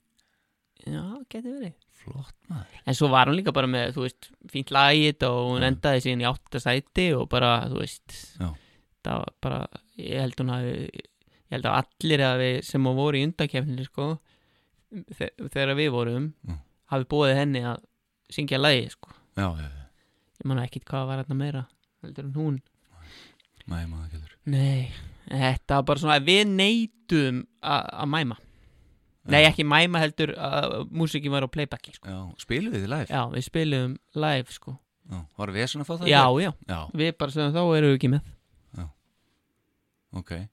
Speaker 2: Já, geti verið
Speaker 1: flott maður
Speaker 2: En svo var hún líka bara með, þú veist, fínt lagið og hún
Speaker 1: Já.
Speaker 2: endaði síðan í átta sæti og bara, þú veist
Speaker 1: Já.
Speaker 2: Það var bara, ég held hún hafi Ég held að allir að við sem hún voru í undakefninu, sko þe- Þegar við vorum
Speaker 1: Já.
Speaker 2: Hafi búið henni að syngja lagið, sko
Speaker 1: já, já, já,
Speaker 2: Ég manna ekkit hvað var þarna meira Heldur en hún
Speaker 1: næ, maður ekki heldur
Speaker 2: Nei, þetta var bara svona að við neytum að mæma
Speaker 1: Já.
Speaker 2: Nei, ekki mæma heldur að músikin var á playbacki sko.
Speaker 1: já, spiluðu þið live
Speaker 2: Já, við spilum live sko
Speaker 1: já. var vesen að fá það
Speaker 2: Já,
Speaker 1: í gegn?
Speaker 2: já,
Speaker 1: já,
Speaker 2: við bara sem þá erum við ekki með
Speaker 1: ok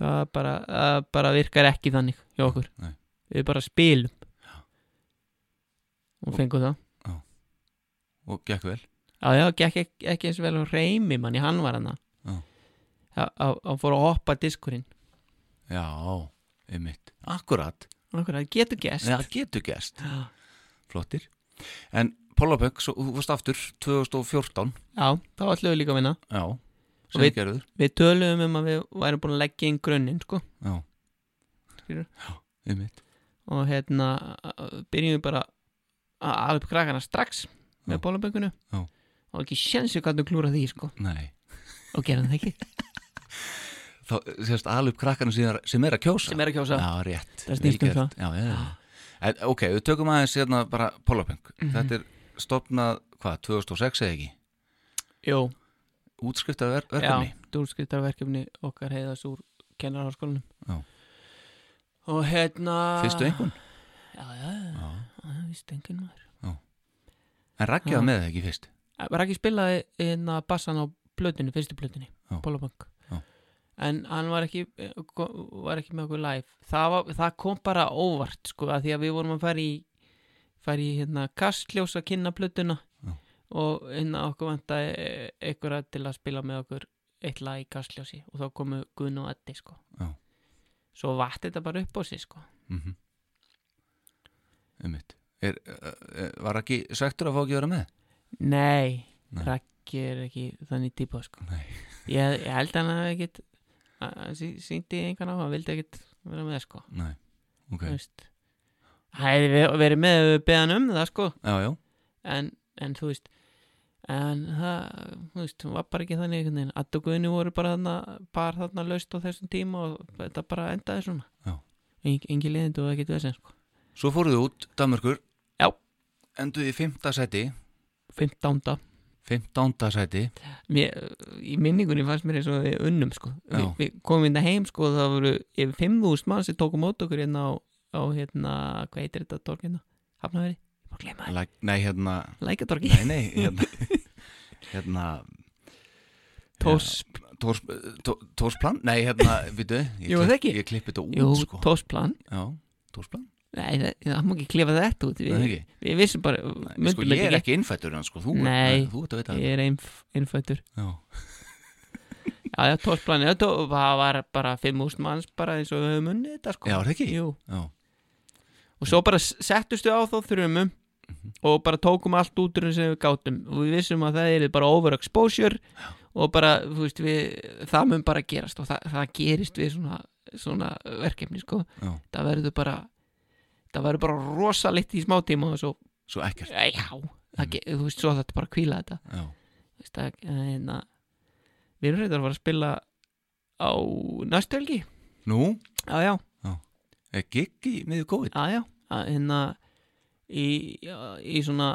Speaker 2: Það bara, það bara virkar ekki þannig hjá okkur
Speaker 1: Nei.
Speaker 2: Við bara spilum Og fengum það
Speaker 1: og gekk vel
Speaker 2: Já, já, gekk ekki, ekki eins og vel á reymi manni, hann var hann
Speaker 1: Já.
Speaker 2: Hann fór að hoppa diskurinn
Speaker 1: já, einmitt akkurat,
Speaker 2: Okkur, það getur gest
Speaker 1: það getur gæst
Speaker 2: Já,
Speaker 1: flottir en Pollabögg, svo þú varst aftur 2014,
Speaker 2: já þá ætlum við líka að vinna
Speaker 1: já
Speaker 2: Og
Speaker 1: sem
Speaker 2: við-
Speaker 1: gerður,
Speaker 2: Við töluðum um að við værum búin að leggja inn grunninn sko
Speaker 1: já
Speaker 2: Skilur.
Speaker 1: já, einmitt,
Speaker 2: og hérna uh, byrjum við bara að ala upp krakkana strax með
Speaker 1: Já.
Speaker 2: bólaböngunu
Speaker 1: Já.
Speaker 2: og ekki sjensi hvað þú klúra því sko
Speaker 1: nei
Speaker 2: og gera það ekki
Speaker 1: þá sérst alup krakkanum sem er, sem er að kjósa
Speaker 2: sem er að kjósa Ah.
Speaker 1: já, rétt
Speaker 2: Það snýst um
Speaker 1: Vel gert. já, já, já. En, ok, við tökum aðeins hérna bara Pollabögg,
Speaker 2: Mhm.
Speaker 1: þetta er stopnað hvað, 2006 eða ekki
Speaker 2: Jú,
Speaker 1: útskriftað ver
Speaker 2: já,
Speaker 1: verkefni
Speaker 2: dúlskriftarverkefni okkar heiðas úr kennarháskólanum
Speaker 1: Já.
Speaker 2: og hérna
Speaker 1: fyrstu einhvern
Speaker 2: já, já, já,
Speaker 1: já.
Speaker 2: já, fyrstu einhvern maður
Speaker 1: en
Speaker 2: Já.
Speaker 1: rakkið með það ekki fyrst
Speaker 2: Eh, Raki spilaði hérna bassan á blöðinu, fyrstu blöðinu
Speaker 1: Já.
Speaker 2: bólaböng
Speaker 1: Já.
Speaker 2: en hann var ekki, eh, var ekki með okkur live það, var, það kom bara óvart sko, að því að við vorum að fara í fara í hérna kastljós að kynna plötuna
Speaker 1: Já.
Speaker 2: og hérna okkur vantaði eh, einhverja til að spila með okkur eitt lag í kastljósi og þá komu Gunn og Eddi sko
Speaker 1: Já.
Speaker 2: svo vatt þetta bara upp á sig sko
Speaker 1: mm -hmm. einmitt er, er, var ekki svektur að fá ekki að vera með
Speaker 2: nei,
Speaker 1: Nei.
Speaker 2: Raggi er ekki þannig típa sko
Speaker 1: Nei.
Speaker 2: ég, ég held að hann hafi ekkit að síndi einhvern á, hann vildi ekkit vera með sko
Speaker 1: nei, ok,
Speaker 2: Þú veist Það hefði ve- verið með ef við beðan um það sko
Speaker 1: já, já
Speaker 2: en, en þú veist En það, þú veist, hún var bara ekki þannig einhvern veginn Adda og Guðni voru bara þarna Bara þarna laust á þessum tíma Og þetta bara endaði svona
Speaker 1: Já.
Speaker 2: Eng, Engi liðindu og ekkert vesinn sko
Speaker 1: svo fóruðu út, Danmörkur
Speaker 2: Já.
Speaker 1: enduðu í fimmta seti
Speaker 2: 15.
Speaker 1: fimmtánda seti
Speaker 2: Mér, í minningunni fannst mér eins og við unnum sko Vi,
Speaker 1: Já.
Speaker 2: Við komum inn að heim sko Það voru yfir 5.000 mann sem tóku mót okkur hérna á, á hérna, hvað heitir þetta torg hérna? Hafnaveri? Ég má gleyma
Speaker 1: Læk, nei, hérna
Speaker 2: það Lækatorgi
Speaker 1: nei, nei, hérna hérna
Speaker 2: Tors,
Speaker 1: Tórs, tó, Tórsplan, nei hérna, veitu
Speaker 2: Jú, það ekki.
Speaker 1: ég klippi þetta út
Speaker 2: jú,
Speaker 1: sko.
Speaker 2: Torsplan
Speaker 1: já, Tórsplan
Speaker 2: Nei, það, það má ekki klifa þetta út
Speaker 1: Nei,
Speaker 2: Við,
Speaker 1: ekki.
Speaker 2: við vissum bara
Speaker 1: Nei, sko,
Speaker 2: myndum
Speaker 1: ég er
Speaker 2: þetta
Speaker 1: ekki innfættur en sko, þú,
Speaker 2: Nei.
Speaker 1: þú ert að vita
Speaker 2: Ég er einf, einfættur
Speaker 1: Já.
Speaker 2: Já, já, tósplanið Það tó- það var bara 5.000 manns bara eins og við höfum unnið þetta sko
Speaker 1: Já, er það ekki?
Speaker 2: Jú
Speaker 1: Já.
Speaker 2: og svo bara settustu á þá þrjumum og bara tókum allt út úr þeim sem við gátum og við vissum að það er bara overexposure og bara, þú veist, við það mun bara gerast og það, það gerist við svona, svona verkefni, sko
Speaker 1: Já.
Speaker 2: það verður bara það verður bara rosalitt í smá tíma og svo,
Speaker 1: Svo ekkert
Speaker 2: já, það, ge- þú veist, svo þetta bara að hvíla þetta
Speaker 1: Já.
Speaker 2: Þú veist, það, hérna, við erum reyndar að fara að spila á næstu helgi
Speaker 1: Nú,
Speaker 2: já, já,
Speaker 1: er gigg í miður COVID?
Speaker 2: já, já, að, hérna í, já, í svona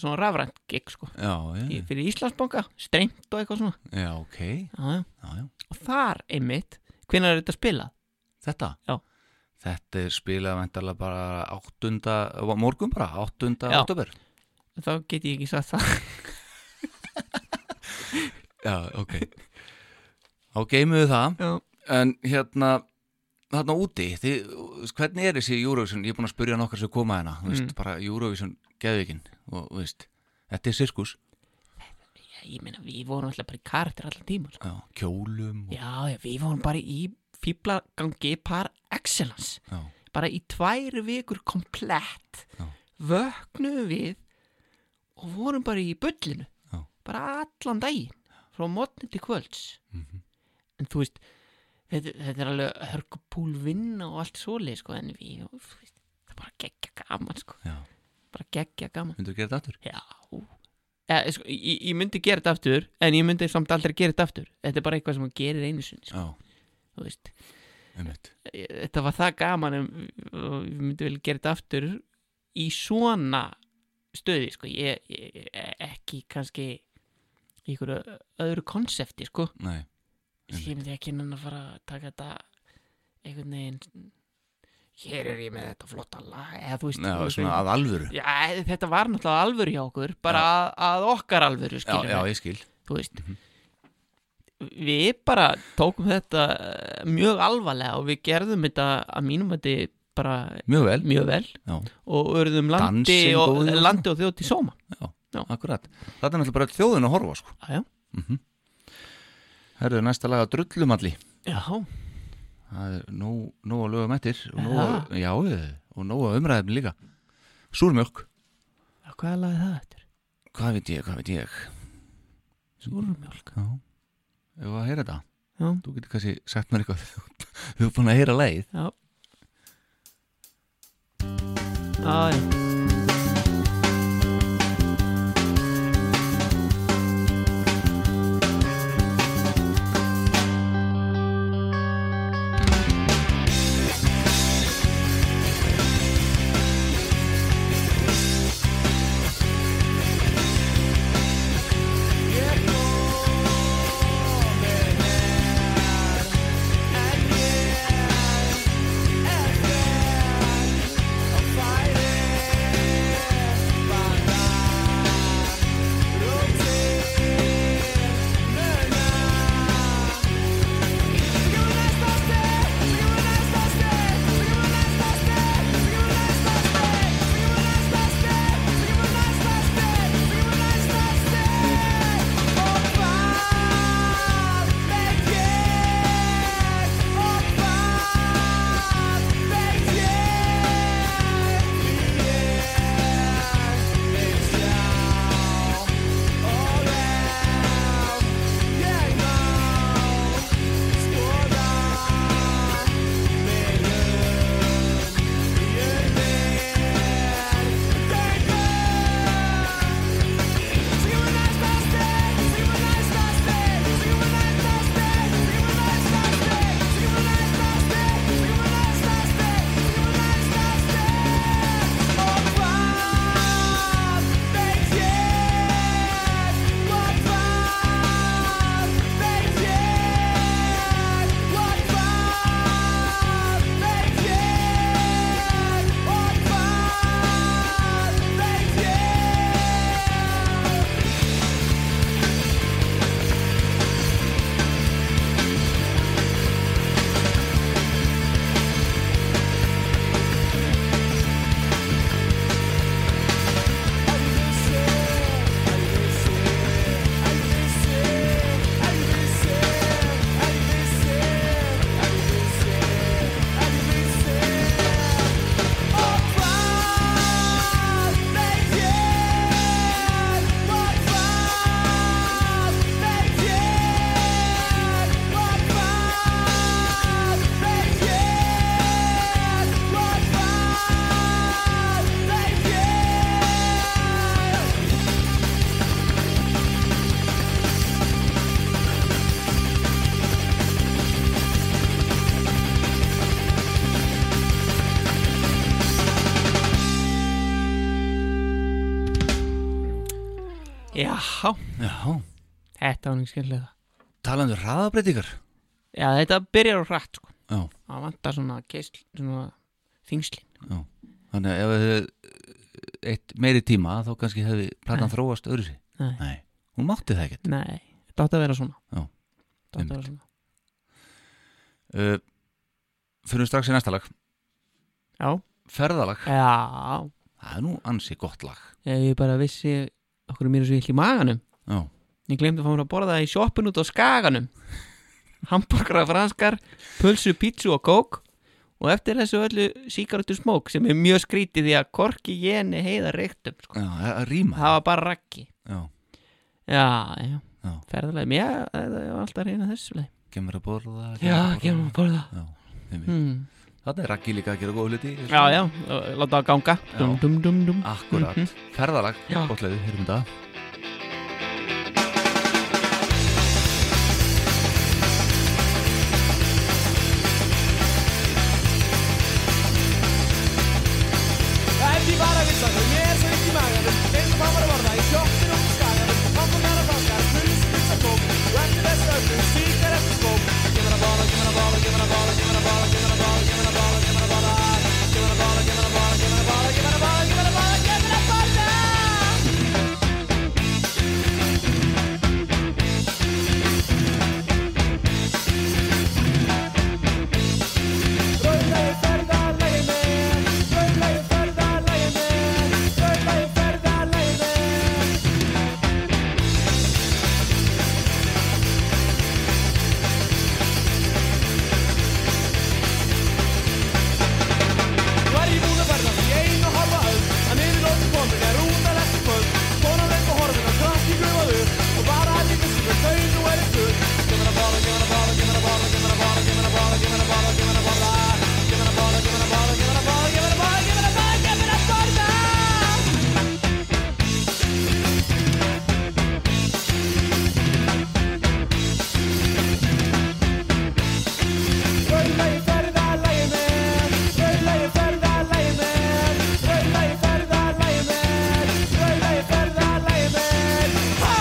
Speaker 2: svona rafrænt gig sko
Speaker 1: Já,
Speaker 2: í,
Speaker 1: já,
Speaker 2: fyrir Íslandsbanka, strengt og eitthvað svona
Speaker 1: já, ok Já,
Speaker 2: já, já.
Speaker 1: já,
Speaker 2: og þar einmitt, hvenær er þetta spilað?
Speaker 1: þetta
Speaker 2: Já.
Speaker 1: Þetta er spilað væntalega bara 8. morgun bara, 8.
Speaker 2: Já.
Speaker 1: oktober
Speaker 2: þá get ég ekki sagt það
Speaker 1: Já, ok Þá geymum við það
Speaker 2: já,
Speaker 1: En hérna, þarna úti þið, þú veist, Hvernig er þessi Eurovision? Ég er búin að spyrja nokkar sem koma hérna Þú veist,
Speaker 2: Mm.
Speaker 1: bara Eurovision geðvikin og, þú veist, Þetta er sirkus
Speaker 2: ég meina, við vorum alltaf bara í karakter allan tíma sko.
Speaker 1: Já, kjólum og,
Speaker 2: já, já, við vorum bara í fíblagangi par excellence
Speaker 1: já.
Speaker 2: bara í tvær vikur komplett
Speaker 1: Já.
Speaker 2: vöknuðum við og vorum bara í bullinu
Speaker 1: Já.
Speaker 2: bara allan daginn frá mótni til kvölds
Speaker 1: Mhm.
Speaker 2: en þú veist þetta, þetta er alveg hörgupúl vinna og allt svoleið sko en við þú veist, það er bara geggja gaman sko
Speaker 1: já.
Speaker 2: bara geggja gaman
Speaker 1: Myndur gera þetta aftur?
Speaker 2: já Eh, sko, ég, ég myndi gera þetta aftur en ég myndi samt aldrei gera þetta aftur þetta er bara eitthvað sem maður gerir einu sinni sko,
Speaker 1: Já,
Speaker 2: þú veist
Speaker 1: einmitt
Speaker 2: þetta var það gaman um, og við myndum vel gera þetta aftur í svona stöði sko, ég, ég ekki kannski í ykkur öðru konsepti sko,
Speaker 1: Nei,
Speaker 2: ég myndi ekki nann að fara að taka þetta einhvern veginn hér er ég með þetta flotta lag eða þú veist,
Speaker 1: já,
Speaker 2: þú veist,
Speaker 1: svona að alvöru
Speaker 2: já, þetta var náttúrulega alvöru hjá okkur bara að, að okkar alvöru
Speaker 1: Já,
Speaker 2: skilur
Speaker 1: já,
Speaker 2: við
Speaker 1: ég skil
Speaker 2: þú veist
Speaker 1: Mhm.
Speaker 2: við bara tókum þetta eh, mjög alvarlega og við gerðum þetta að mínum að þetta bara
Speaker 1: Mjög vel
Speaker 2: mjög vel
Speaker 1: Já,
Speaker 2: og urðum landi
Speaker 1: Dansinn
Speaker 2: og,
Speaker 1: góður og
Speaker 2: landi og þjótt í sóma
Speaker 1: akkurat Þetta er náttúrulega bara þjóðin að horfa sko
Speaker 2: já, já.
Speaker 1: Herðu næsta lag að drullumalli
Speaker 2: já,
Speaker 1: Það er nóg, nóg að lögum eftir og nóg
Speaker 2: Aha.
Speaker 1: að, Já, eh, og nóg að umræðum líka Súrmjölk
Speaker 2: hvað er lagið það eftir?
Speaker 1: Hvað veit ég, hvað veit ég
Speaker 2: Súrmjólk
Speaker 1: Já, ef að heyra þetta
Speaker 2: já,
Speaker 1: Þú getur kannski sagt mér eitthvað Þú er búin að heyra lagið
Speaker 2: já já, já
Speaker 3: Yeah.
Speaker 2: Já,
Speaker 1: Já,
Speaker 2: þetta var nú skemmtilega
Speaker 1: talandi um hraðabreitingar
Speaker 2: Já, þetta byrjar á hratt sko
Speaker 1: Já.
Speaker 2: Það vantar svona keisl, svona þingslin
Speaker 1: Þannig að ef þið eitt meiri tíma þá kannski hefði platan þróast öðru sér
Speaker 2: Nei.
Speaker 1: hún mátti það ekkert
Speaker 2: Nei, þetta átti að vera svona
Speaker 1: Já,
Speaker 2: Þetta átti að
Speaker 1: einmitt.
Speaker 2: vera svona
Speaker 1: uh, Fyrir strax í næsta lag
Speaker 2: Já,
Speaker 1: Ferðalag,
Speaker 2: já,
Speaker 1: það er nú ansi gott lag
Speaker 2: ef ég bara vissi okkur er mér svo vill í maganum
Speaker 1: Já,
Speaker 2: Ég glemdi að fá mér að borða það í sjoppun út á skaganum Hamburgra franskar, pulsu, pítsu og kók Og eftir þessu öllu síkartu smók sem er mjög skrítið því að korki jeni heiða reyktum sko.
Speaker 1: Já það það rýma
Speaker 2: Það var bara rakki
Speaker 1: Já,
Speaker 2: Já, já,
Speaker 1: Já.
Speaker 2: ferðarlega Já, það var alltaf reyna þessu leið
Speaker 1: kemur að borða
Speaker 2: Já,
Speaker 1: um
Speaker 2: gefum að borða
Speaker 1: Já, einmitt.
Speaker 2: hmm.
Speaker 1: Þarna er Raggi líka að gera góð hluti
Speaker 2: Já, já, láta það ganga dum, dum, dum, dum.
Speaker 1: Akkurat,
Speaker 2: Mhm.
Speaker 1: ferðalag, um
Speaker 2: Já.
Speaker 1: gott leiði, heyrum þetta
Speaker 3: Ef ég bara vissi að ég er sveik í maganum Eins og mamma er að borða í sjoppin og skaganum Pappa mér að baka, pulsu, pizza, kók Og eftir þessu öllu, síkar eftir skók Ég var að borða, ég var að borða, ég var að borða Ég var að borða, ég var að borða, ég var að borða Ég var að borða, ég var að borða, ég var að borða Ég var að borða, ég var að borða, ég var að borða Ég var að borða Rauðlegu ferðalagi minn, rauðlegu ferðalagi minn, rauðlegu ferðalagi minn. Nú er ég búinn að ferðast í ein og halva öld, en yfir nóttin komin er út að lesta kvöld. Konan upp á horfin og krakki gufað upp, og bara að líka sem við þau nú er í full. Ég verð að borða, ég verð að borða, ég verð að borða, ég verð að borða, ég verð að borða, ég verð að borða, ég verð að borða. Ég verð að borða, ég verð að borða, ég verð að borða, ég verð að borða, ég verð að borða, ég verð að borða. Rauðlagi ferðalagi minn, rauðlagi ferðalagi minn, rauðlagi ferðalagi minn, rauðlagi ferðalagi minn. Ha!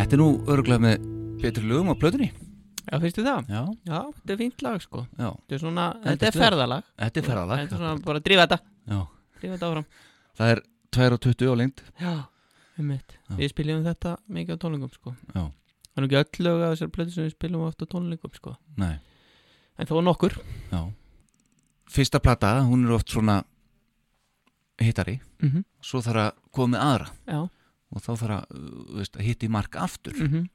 Speaker 1: Þetta er nú örgulega með betri lögum á plötunni
Speaker 2: Já, finnstu það?
Speaker 1: Já,
Speaker 2: Já, þetta er fínt lag sko
Speaker 1: já,
Speaker 2: Þetta er svona,
Speaker 1: Endist
Speaker 2: þetta er
Speaker 1: við.
Speaker 2: ferðalag
Speaker 1: þetta er ferðalag
Speaker 2: Þetta er svona bara að drífa þetta,
Speaker 1: Já,
Speaker 2: drífa þetta áfram
Speaker 1: það er 2.20 á lengd
Speaker 2: Já, um mitt
Speaker 1: Já.
Speaker 2: Við spiljum þetta mikið á tónlingum sko
Speaker 1: Já.
Speaker 2: Það er nú ekki öll lög að þessar plötu sem við spiljum oft á tónlingum sko
Speaker 1: Nei,
Speaker 2: En þó nokkur
Speaker 1: já Fyrsta plata, hún er oft svona hittari
Speaker 2: mm -hmm.
Speaker 1: Svo þarf að koma með aðra
Speaker 2: Já,
Speaker 1: og þá þarf að, uh, veist, að hitti mark aftur
Speaker 2: mm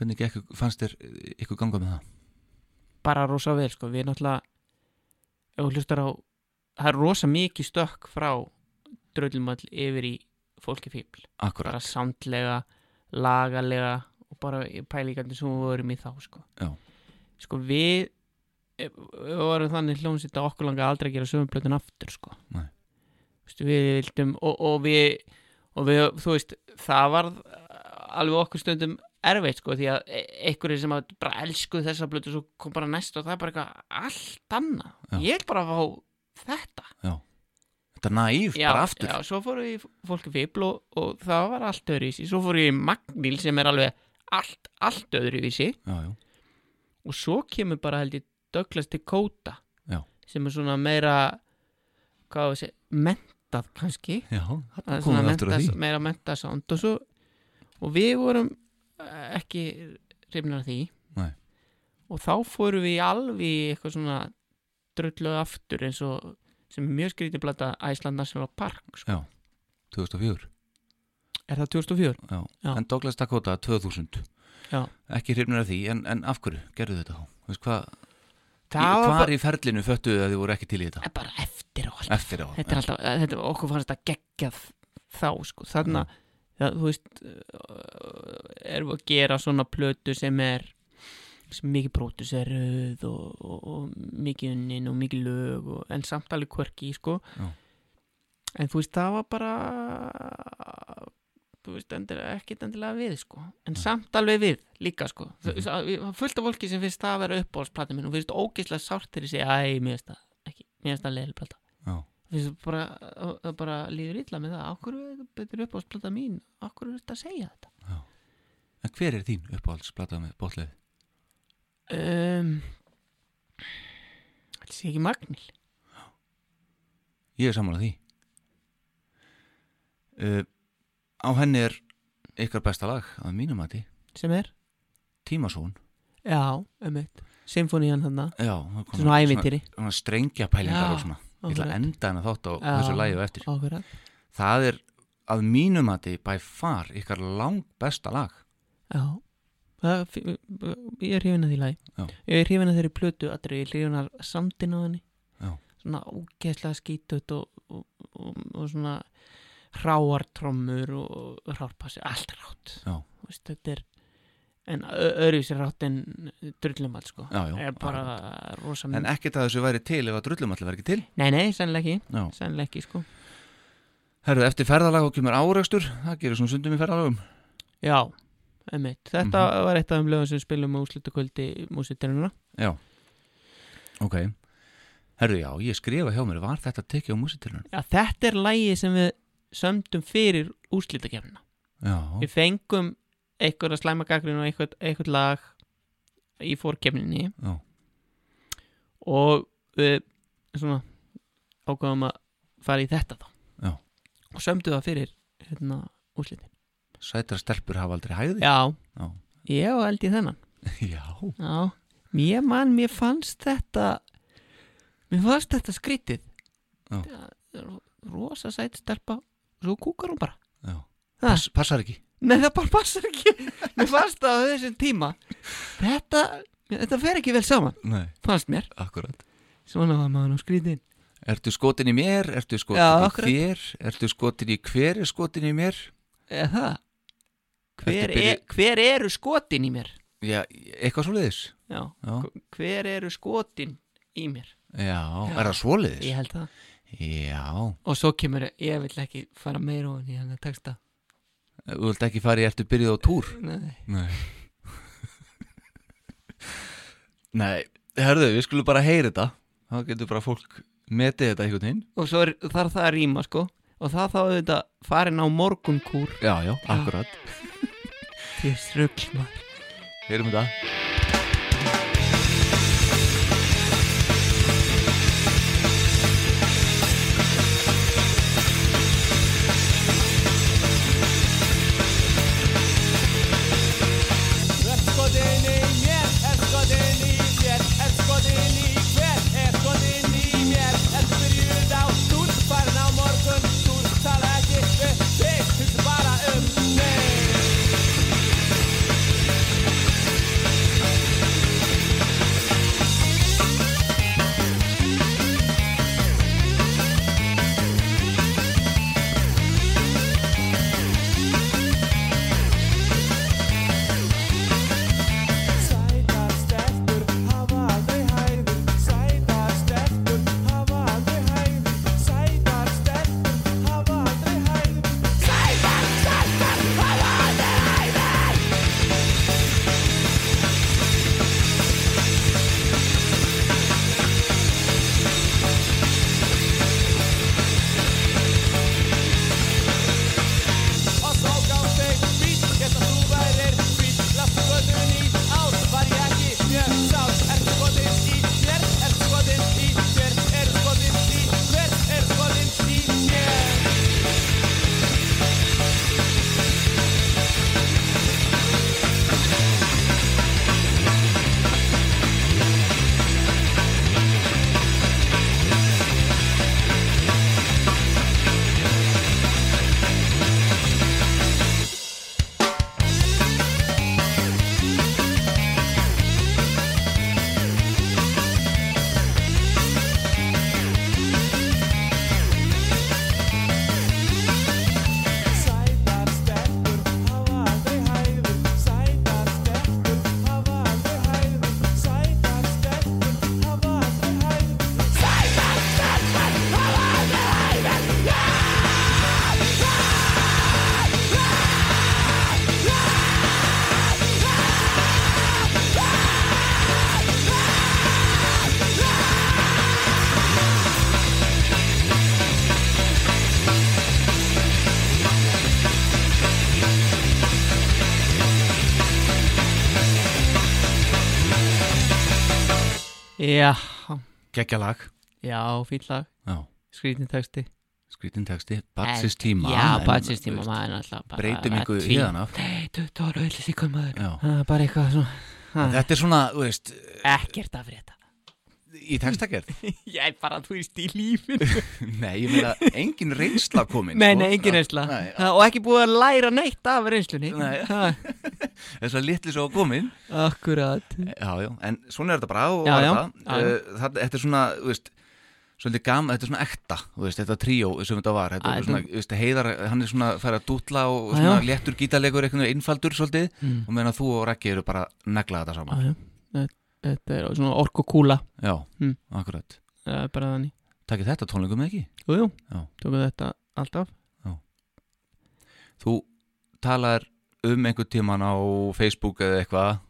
Speaker 1: Hvernig gekk, fannst þér uh, ykkur ganga með það?
Speaker 2: bara rosa vel sko Við náttúrulega Ef þú hlustar á Það er rosa mikið stökk frá Dröllumall yfir í fólki fíbl
Speaker 1: Akkurat,
Speaker 2: bara samtlega, lagalega og bara pælíkandi sem við vorum í þá sko,
Speaker 1: Já.
Speaker 2: sko við, eh, við vorum þannig hljómsitt að okkur langa aldrei að gera sömumblötun aftur sko
Speaker 1: Nei.
Speaker 2: Vistu, við vildum og, og við og við, þú veist, það var alveg okkur stundum erfitt sko því að e- einhverjir sem að bara elskuð þessa blötu svo kom bara næst og það er bara eitthvað allt annað,
Speaker 1: Já.
Speaker 2: ég vil bara fá þetta
Speaker 1: þetta er naív, bara aftur
Speaker 2: já, svo fóru við í fólki fíbl og, og það var allt öðruvísi svo fóru við í Magnil sem er alveg allt, allt öðruvísi
Speaker 1: já, já,
Speaker 2: og svo kemur bara held ég Douglas Dakota
Speaker 1: Já.
Speaker 2: sem er svona meira hvað á að segja, mentað kannski
Speaker 1: já,
Speaker 2: Það
Speaker 1: þarna komum
Speaker 2: er svona
Speaker 1: við aftur að
Speaker 2: menntað-
Speaker 1: því
Speaker 2: meira mentað sound og svo og við vorum eh, ekki hrifnar af því
Speaker 1: Nei.
Speaker 2: og þá fórum við í alveg í eitthvað svona drullu aftur eins og sem er mjög skrítið blata Æsland National Park sko.
Speaker 1: 2004,
Speaker 2: Er það 2004?
Speaker 1: já.
Speaker 2: Já.
Speaker 1: en Douglas Dakota 2000
Speaker 2: Já.
Speaker 1: ekki hrifnir af því, en, en af hverju gerðu þetta þá? Þú veist hvað, í-
Speaker 2: var
Speaker 1: hvar
Speaker 2: bara,
Speaker 1: í ferlinu föttuðu að þið voru ekki til í þetta?
Speaker 2: bara eftir á allt
Speaker 1: Eftir á
Speaker 2: þetta er alltaf, þetta, okkur fannst þetta geggjað þá sko, þannig að það, þú veist uh, erum við að gera svona plötu sem er sem er mikið prótuseröð og, og, og mikið unnin og mikið lög og, en samt alveg kvörki sko.
Speaker 1: Já.
Speaker 2: en þú veist það var bara þú veist endilega, ekkit endilega við sko. en samt alveg við líka sko. mm
Speaker 1: Mhm.
Speaker 2: -hmm. fullt af fólki sem finnst það að vera uppáhaldsplata minn og finnst ógeðslega sárt þegar ég segi æ, mér finnst það ekki, mér finnst það leðilplata
Speaker 1: Já.
Speaker 2: finnst það bara, það bara líður illa með það, okkur er þetta betur upp á splata mín okkur er þetta að segja þetta
Speaker 1: En hver er þín uppáhaldsplata með bóttlefi?
Speaker 2: um, Þetta sé ekki magnil
Speaker 1: Ég er saman að því uh, Á henni er ykkar besta lag að mínum að því
Speaker 2: sem er,
Speaker 1: Tímasón
Speaker 2: já, emmitt symfónían þarna,
Speaker 1: Já, það
Speaker 2: þetta er svona
Speaker 1: svona,
Speaker 2: ævintýri
Speaker 1: svona strengja pælingar
Speaker 2: Já,
Speaker 1: og svona Ég ætla að enda hana þátt á
Speaker 2: Já.
Speaker 1: þessu lagi og eftir
Speaker 2: okkur að,
Speaker 1: Það er að mínum að því by far ykkar lang besta lag
Speaker 2: já Það, er fí- ég er hrifin að því lagi
Speaker 1: Já.
Speaker 2: ég er hrifin að þeirri plötu allri, ég er hrifin að samtinn á henni
Speaker 1: Já.
Speaker 2: svona ógeðslega skítut og, og, og, og svona hráartrommur og hrárpassi, allt rátt
Speaker 1: Já,
Speaker 2: Þú veist, þetta er en öðruvísi rátt en drullumall sko
Speaker 1: já, já
Speaker 2: er bara rosa
Speaker 1: En e- ekkert að þessu væri til ef að drullum allir væri ekki til
Speaker 2: nei nei, sennilega ekki,
Speaker 1: Já
Speaker 2: sennilega ekki sko
Speaker 1: Herðu, eftir ferðalag og kemur árekstur Það gerir svona sundum í ferðalagum
Speaker 2: já, einmitt, þetta
Speaker 1: Mhm.
Speaker 2: var eitt af þeim lögum sem við spilum á úslutakvöldi músitiruna
Speaker 1: Já Ok Herðu já, ég skrifa hjá mér Var þetta tekið á músitilunum?
Speaker 2: já, þetta er lægi sem við sömdum fyrir úslutakefnina
Speaker 1: Já,
Speaker 2: við fengum einhverja slæma gagnrýn og einhvern, einhvern lag í fórkefninni
Speaker 1: já,
Speaker 2: og við svona ákvaðum að fara í þetta þá
Speaker 1: Já.
Speaker 2: og sömdu það fyrir hérna úslitin
Speaker 1: sætra stelpur hafa aldrei hæði
Speaker 2: Já,
Speaker 1: Já.
Speaker 2: ég var held í þennan
Speaker 1: Já,
Speaker 2: Já, mér mann, mér fannst þetta Mér fannst þetta skrítið
Speaker 1: Já.
Speaker 2: Það er Rosa sætt stelpa Svo kúkar hún bara
Speaker 1: já.
Speaker 2: Ha?
Speaker 1: Pass, Passar ekki
Speaker 2: Nei, það bara passar ekki Mér fannst það á þessum tíma Þetta, þetta fer ekki vel saman
Speaker 1: Nei,
Speaker 2: Fannst mér,
Speaker 1: akkurat
Speaker 2: svona var maður nú skrítin
Speaker 1: Ertu skotin í mér, ertu skotin
Speaker 2: Já,
Speaker 1: í
Speaker 2: akkurat.
Speaker 1: þér Ertu skotin í hver er skotin í mér
Speaker 2: Eða það hver,
Speaker 1: Ertu byrju-
Speaker 2: er, hver eru skotin í mér?
Speaker 1: Já, eitthvað svoleiðis
Speaker 2: Já,
Speaker 1: Já,
Speaker 2: hver eru skotin í mér?
Speaker 1: já. er það svoleiðis?
Speaker 2: Ég held það
Speaker 1: Já,
Speaker 2: Og svo kemur, ég vil ekki fara meira ofan í hann að texta.
Speaker 1: þú vilt ekki fara í ertu byrjuð á túr
Speaker 2: Nei.
Speaker 1: Nei Nei, herðu, við skulum bara heyra þetta Þá getur bara fólk metið þetta einhvern veginn
Speaker 2: Og svo er, þarf það að rýma, sko. Og það þá auðvitað farin á morgunkúr.
Speaker 1: Já, já, akkurat
Speaker 2: Þér srugl maður.
Speaker 1: Heyrum þetta
Speaker 3: Erskotin í mér, erskotin í mér, erskotin í hver, erskotin í mér Ertu byrjuð á stúr, farin á morgun stúr Tala ekki við þig, hugsa bara um mig
Speaker 2: Já,
Speaker 1: Gekja lag
Speaker 2: já, fín lag
Speaker 1: Já,
Speaker 2: Skrítin texti
Speaker 1: skrítin texti, batsins tíma
Speaker 2: Já,
Speaker 1: en,
Speaker 2: batsins tíma
Speaker 1: veist,
Speaker 2: maður alltaf bara
Speaker 1: Breytum
Speaker 2: að
Speaker 1: ykkur
Speaker 2: tví-
Speaker 1: hérna
Speaker 2: Nei, 20 ára öll í hvað maður
Speaker 1: Já.
Speaker 2: Það er Bara eitthvað svona
Speaker 1: Þetta er svona, þú veist,
Speaker 2: Ekkert að frétta
Speaker 1: í textagerð
Speaker 2: Ég er bara, þú veist, í lífin
Speaker 1: Nei, ég meina, engin reynsla komin
Speaker 2: Nei,
Speaker 1: sko.
Speaker 2: nei, engin reynsla
Speaker 1: Nei,
Speaker 2: Ha, Og ekki búið að læra neitt af reynslunni
Speaker 1: Nei.
Speaker 2: Ha,
Speaker 1: Þess að litli svo komin
Speaker 2: Akkurat
Speaker 1: Já, já, en svona er þetta bara og
Speaker 2: Já,
Speaker 1: var
Speaker 2: já,
Speaker 1: þetta.
Speaker 2: já, já.
Speaker 1: Eh, það- Þetta er svona, þú veist Svolítið gam, þetta er svona ekta, þú veist, þetta tríó sem þetta var, þetta
Speaker 2: Æ,
Speaker 1: er
Speaker 2: þetta-
Speaker 1: svona, þú veist, heiðar, hann er svona að fara að dútla og
Speaker 2: Já,
Speaker 1: svona
Speaker 2: já.
Speaker 1: léttur gítalegur, einhvern veginn einfaldur svolítið
Speaker 2: Mm.
Speaker 1: og meðan þú og Raggi eru bara að negla þetta saman.
Speaker 2: Já, já. Þetta- Þetta er svona orkukúla
Speaker 1: Já,
Speaker 2: Mm.
Speaker 1: akkurat.
Speaker 2: Það er bara þannig
Speaker 1: Takk þetta tónleikum eða ekki?
Speaker 2: Jú, jú,
Speaker 1: Já.
Speaker 2: tókum þetta alltaf
Speaker 1: Þú talar um einhver tíman á Facebook eða eitthvað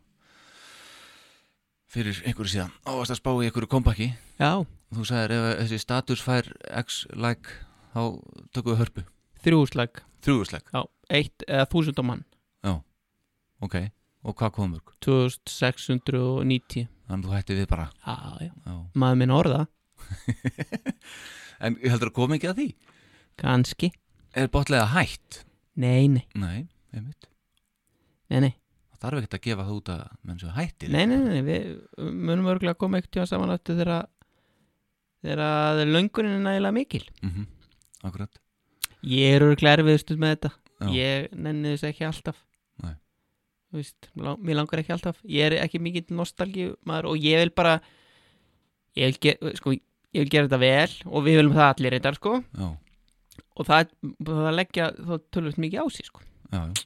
Speaker 1: fyrir einhverju síðan og varst að spá í einhverju kompaki
Speaker 2: Já,
Speaker 1: þú sagðir ef þessi status fær x like þá tökum við hörpu
Speaker 2: þrjúslag
Speaker 1: þrjúðusleik,
Speaker 2: Já, eitt eða þúsund á mann
Speaker 1: ok og hvað kom mörg?
Speaker 2: 2690
Speaker 1: Þannig að þú hætti við bara
Speaker 2: Já, já,
Speaker 1: Já.
Speaker 2: maður minn orða
Speaker 1: en heldur að koma ekki að því?
Speaker 2: Ganski,
Speaker 1: Er botlega hætt?
Speaker 2: nei, nei,
Speaker 1: Nei, einmitt
Speaker 2: nei, nei
Speaker 1: það þarf ekkert að gefa það út að menn sem hættir
Speaker 2: Nei, nei, nei, nei, við munum örgulega að koma ekkert tíma saman aftur þegar að- þegar að löngunin er nægilega mikil
Speaker 1: Mhm, akkurat
Speaker 2: Ég er örgulega erfiðustuð með þetta
Speaker 1: Já.
Speaker 2: Ég nenni þess ekki alltaf
Speaker 1: Nei.
Speaker 2: Þú veist, lá- mér langar ekki alltaf Ég er ekki mikill nostalgíu maður og ég vil bara ég vil, ge, sko, ég vil gera þetta vel og við viljum það allir reyndar sko
Speaker 1: Já,
Speaker 2: og það, það leggja þá tölvöld mikið á sig sko
Speaker 1: já, já,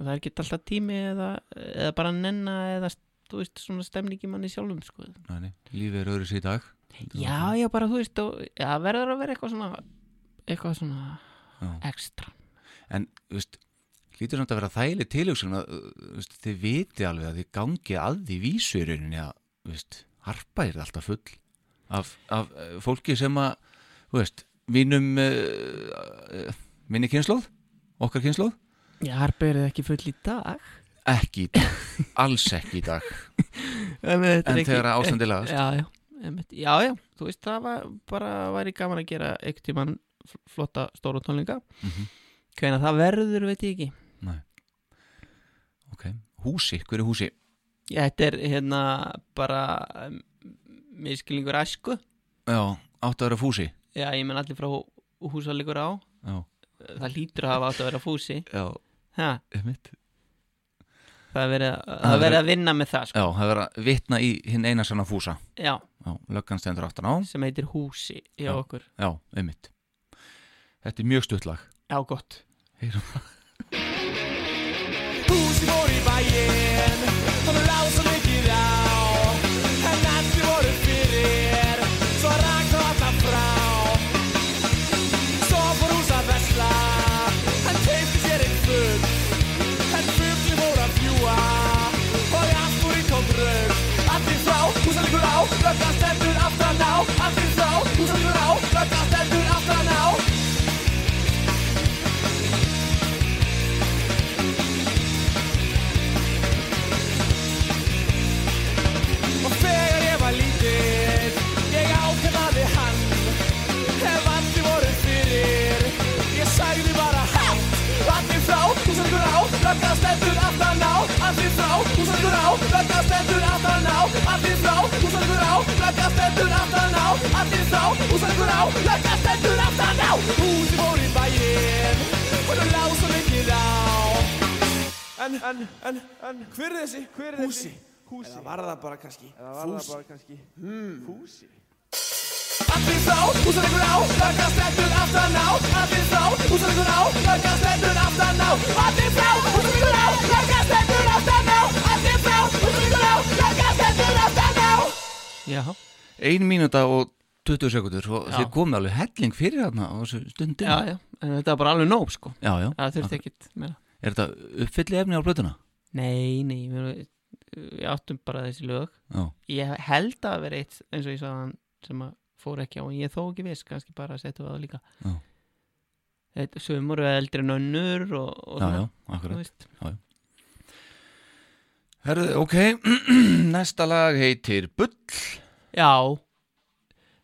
Speaker 2: og það er ekki alltaf tími eða, eða bara nenna eða þú veist svona stemningi manni sjálfum sko
Speaker 1: Nei, nei. lífið er öðru sér í dag
Speaker 2: Já, já, bara þú veist og, já, verður að vera eitthvað svona eitthvað svona
Speaker 1: Já.
Speaker 2: ekstra
Speaker 1: En, þú veist, lítur samt að vera þægileg tilhugsun að, uh, þú veist, þið viti alveg að þið gangi að því vísu í rauninni að, þú veist, harpa er alltaf full af, af uh, fólki sem að, þú veist, mínum, uh, uh, minni kynnslóð, okkar kynnslóð,
Speaker 2: Já, harpa er ekki full í dag
Speaker 1: ekki í dag, alls ekki í dag,
Speaker 2: En,
Speaker 1: en þegar ástandilegast.
Speaker 2: Já, já, einmitt. já, já, þú veist það var bara væri gaman að gera einhvern tímann fl- flotta stóra tónleika
Speaker 1: Mm
Speaker 2: Hvenær það verður, veit ég ekki
Speaker 1: Ok, húsi, hverju húsi?
Speaker 2: Já, þetta er hérna bara um, miskilningur æsku
Speaker 1: Já, áttu að vera fúsi.
Speaker 2: Já, ég menn allir frá hú- húsalegur á
Speaker 1: Já,
Speaker 2: Það hlýtur að hafa átt að vera fúsi
Speaker 1: já,
Speaker 2: ha,
Speaker 1: einmitt.
Speaker 2: Það er verið að,
Speaker 1: Það
Speaker 2: að,
Speaker 1: er-
Speaker 2: verið að vinna með það sko.
Speaker 1: Já, það er verið að vitna í hinn eina sanna fúsa.
Speaker 2: Já,
Speaker 1: Já, löggan stendur aftan á.
Speaker 2: sem heitir Húsi hjá
Speaker 1: Já.
Speaker 2: okkur
Speaker 1: Já, einmitt. Þetta er mjög stuttlag.
Speaker 2: Já, gott
Speaker 1: Heyrum.
Speaker 3: Húsi voru í bæinn Þannig lág svo mikið á En allir voru fyrir Svo rak þá alla frá Svo fór hús að vesla Hann teifti sér einn fugg En fuggli voru að fjúa Og allt fór í tóm raug Allir frá, húsalegur á Lögga stendur aftan á Allir frá, húsalegur á Lögga stendur aftan á Og þegar ég var lítill Ég ákveðaði hann Ef allir voru fyrir Ég sagði bara hátt Allir frá, húsangur á Röggar stendur aftan á Allir frá, húsangur á Röggar stendur aftan á Allir frá, húsangur á Röggar stendur aftan á Allir frá, húsangur á Röggar stendur aftan á Húsi fór í bæinn Og nú lág svo mikið á En, en, en, en, hver er þessi, hver er þessi? Húsi. Eða var það bara kannski? Eða var það bara kannski? Hmm. Húsi. Allir frá, húsalegur á, lögga stendur aftan á. Allir frá, húsalegur á, lögga stendur aftan á. Allir frá, húsalegur á, lögga stendur aftan á. Allir frá, húsalegur á, lögga stendur aftan á.
Speaker 2: Já,
Speaker 1: Ein mínúta og 20 sekundur og
Speaker 2: Já.
Speaker 1: þið komið alveg helling fyrir þarna á þessu stundin.
Speaker 2: já, já, en þetta er bara alveg nóg sko
Speaker 1: já. já.
Speaker 2: Það þurfti ekkit meira
Speaker 1: Er þetta uppfylli efni á blötuna?
Speaker 2: Nei, nei, við, við áttum bara þessi lög
Speaker 1: Já.
Speaker 2: Ég held að vera eitt, eins og ég sagði hann sem að fór ekki á, en ég er þó ekki viss kannski bara að setja við á það líka
Speaker 1: Já.
Speaker 2: Þetta sumur er eldri en önnur og, og
Speaker 1: Já, já,
Speaker 2: þú
Speaker 1: akkurat.
Speaker 2: veist.
Speaker 1: Herðu, ok, næsta lag heitir Bull.
Speaker 2: Já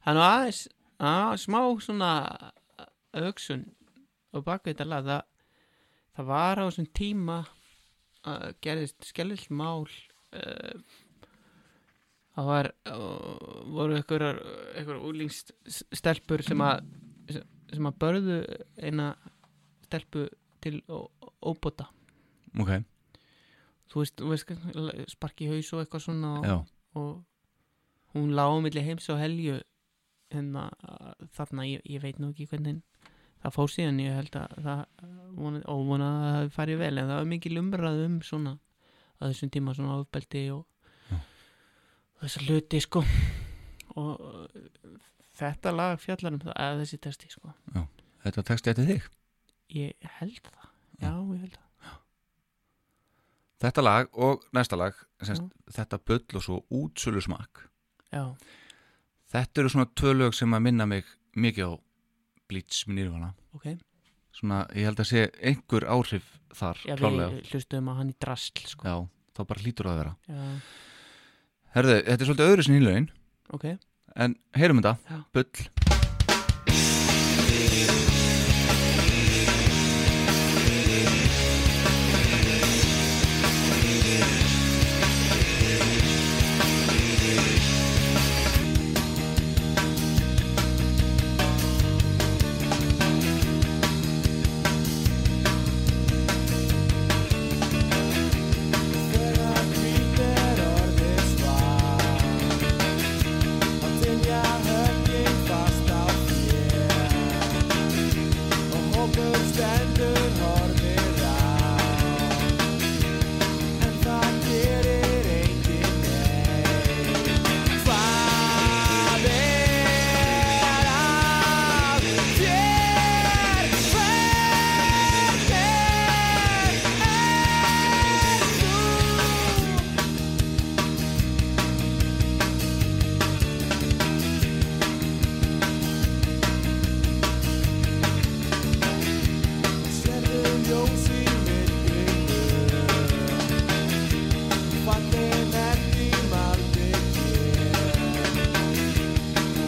Speaker 2: Það er nú aðeins að, smá svona uh, hugsun og baka þetta lag það, það var á þessum tíma að gerðist skellill mál uh, það var uh, voru einhverjar einhverjar úlingst stelpur sem að sem að börðu eina stelpu til ó- óbóta
Speaker 1: ok,
Speaker 2: þú veist, þú veist sparki í haus og eitthvað svona og,
Speaker 1: já,
Speaker 2: og hún lág á milli heims og helju hérna að- þarna, ég, ég veit nú ekki hvernig það fór síðan, ég held að það vona, óvona að það hafi farið vel en það var mikil umræð um svona að þessum tíma svona ofbeldi og
Speaker 1: Já.
Speaker 2: þessa hluti sko og uh, þetta lag fjallar um það, eða þessi testi sko
Speaker 1: þetta texti eftir þig
Speaker 2: ég held það, já, ég held það
Speaker 1: Þetta lag og næsta lag semst, þetta bull og svo útsölu smakk
Speaker 2: já,
Speaker 1: þetta eru svona tvö lög sem að minna mig mikið á Blitz með nýrvana
Speaker 2: ok
Speaker 1: svona, ég held að sé einhver áhrif þar
Speaker 2: já,
Speaker 1: klárlega.
Speaker 2: við hlustum að hann í drasl sko,
Speaker 1: já, þá bara hlýtur það að vera
Speaker 2: já,
Speaker 1: Herðu, þetta er svolítið öðru sinni lögin
Speaker 2: ok
Speaker 1: en heyrum þetta,
Speaker 2: Já.
Speaker 1: bull
Speaker 3: Þegar hvítir orðið svart Þá tynja höggin fast á þér Og hópur stendur horfir á En það gerir enginn neitt Hvað er að þér? Hvernig er þú? Sérðu ljós í myrkrinu. Fallin ekki maldi hér.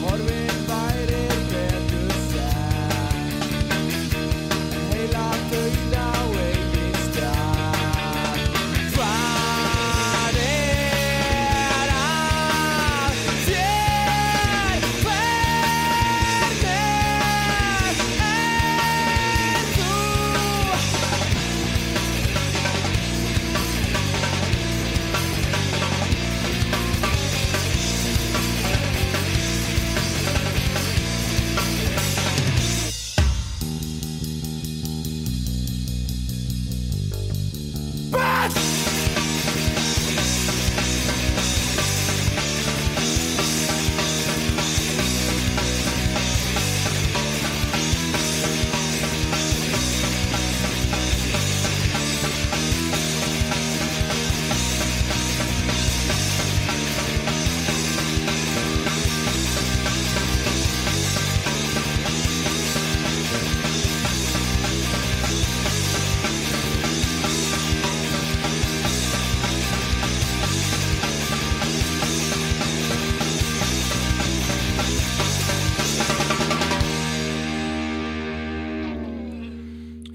Speaker 3: Horfin væri betur sett. En heila dauð á eigin stað. Hvað er að þér? Hvernig ert þú?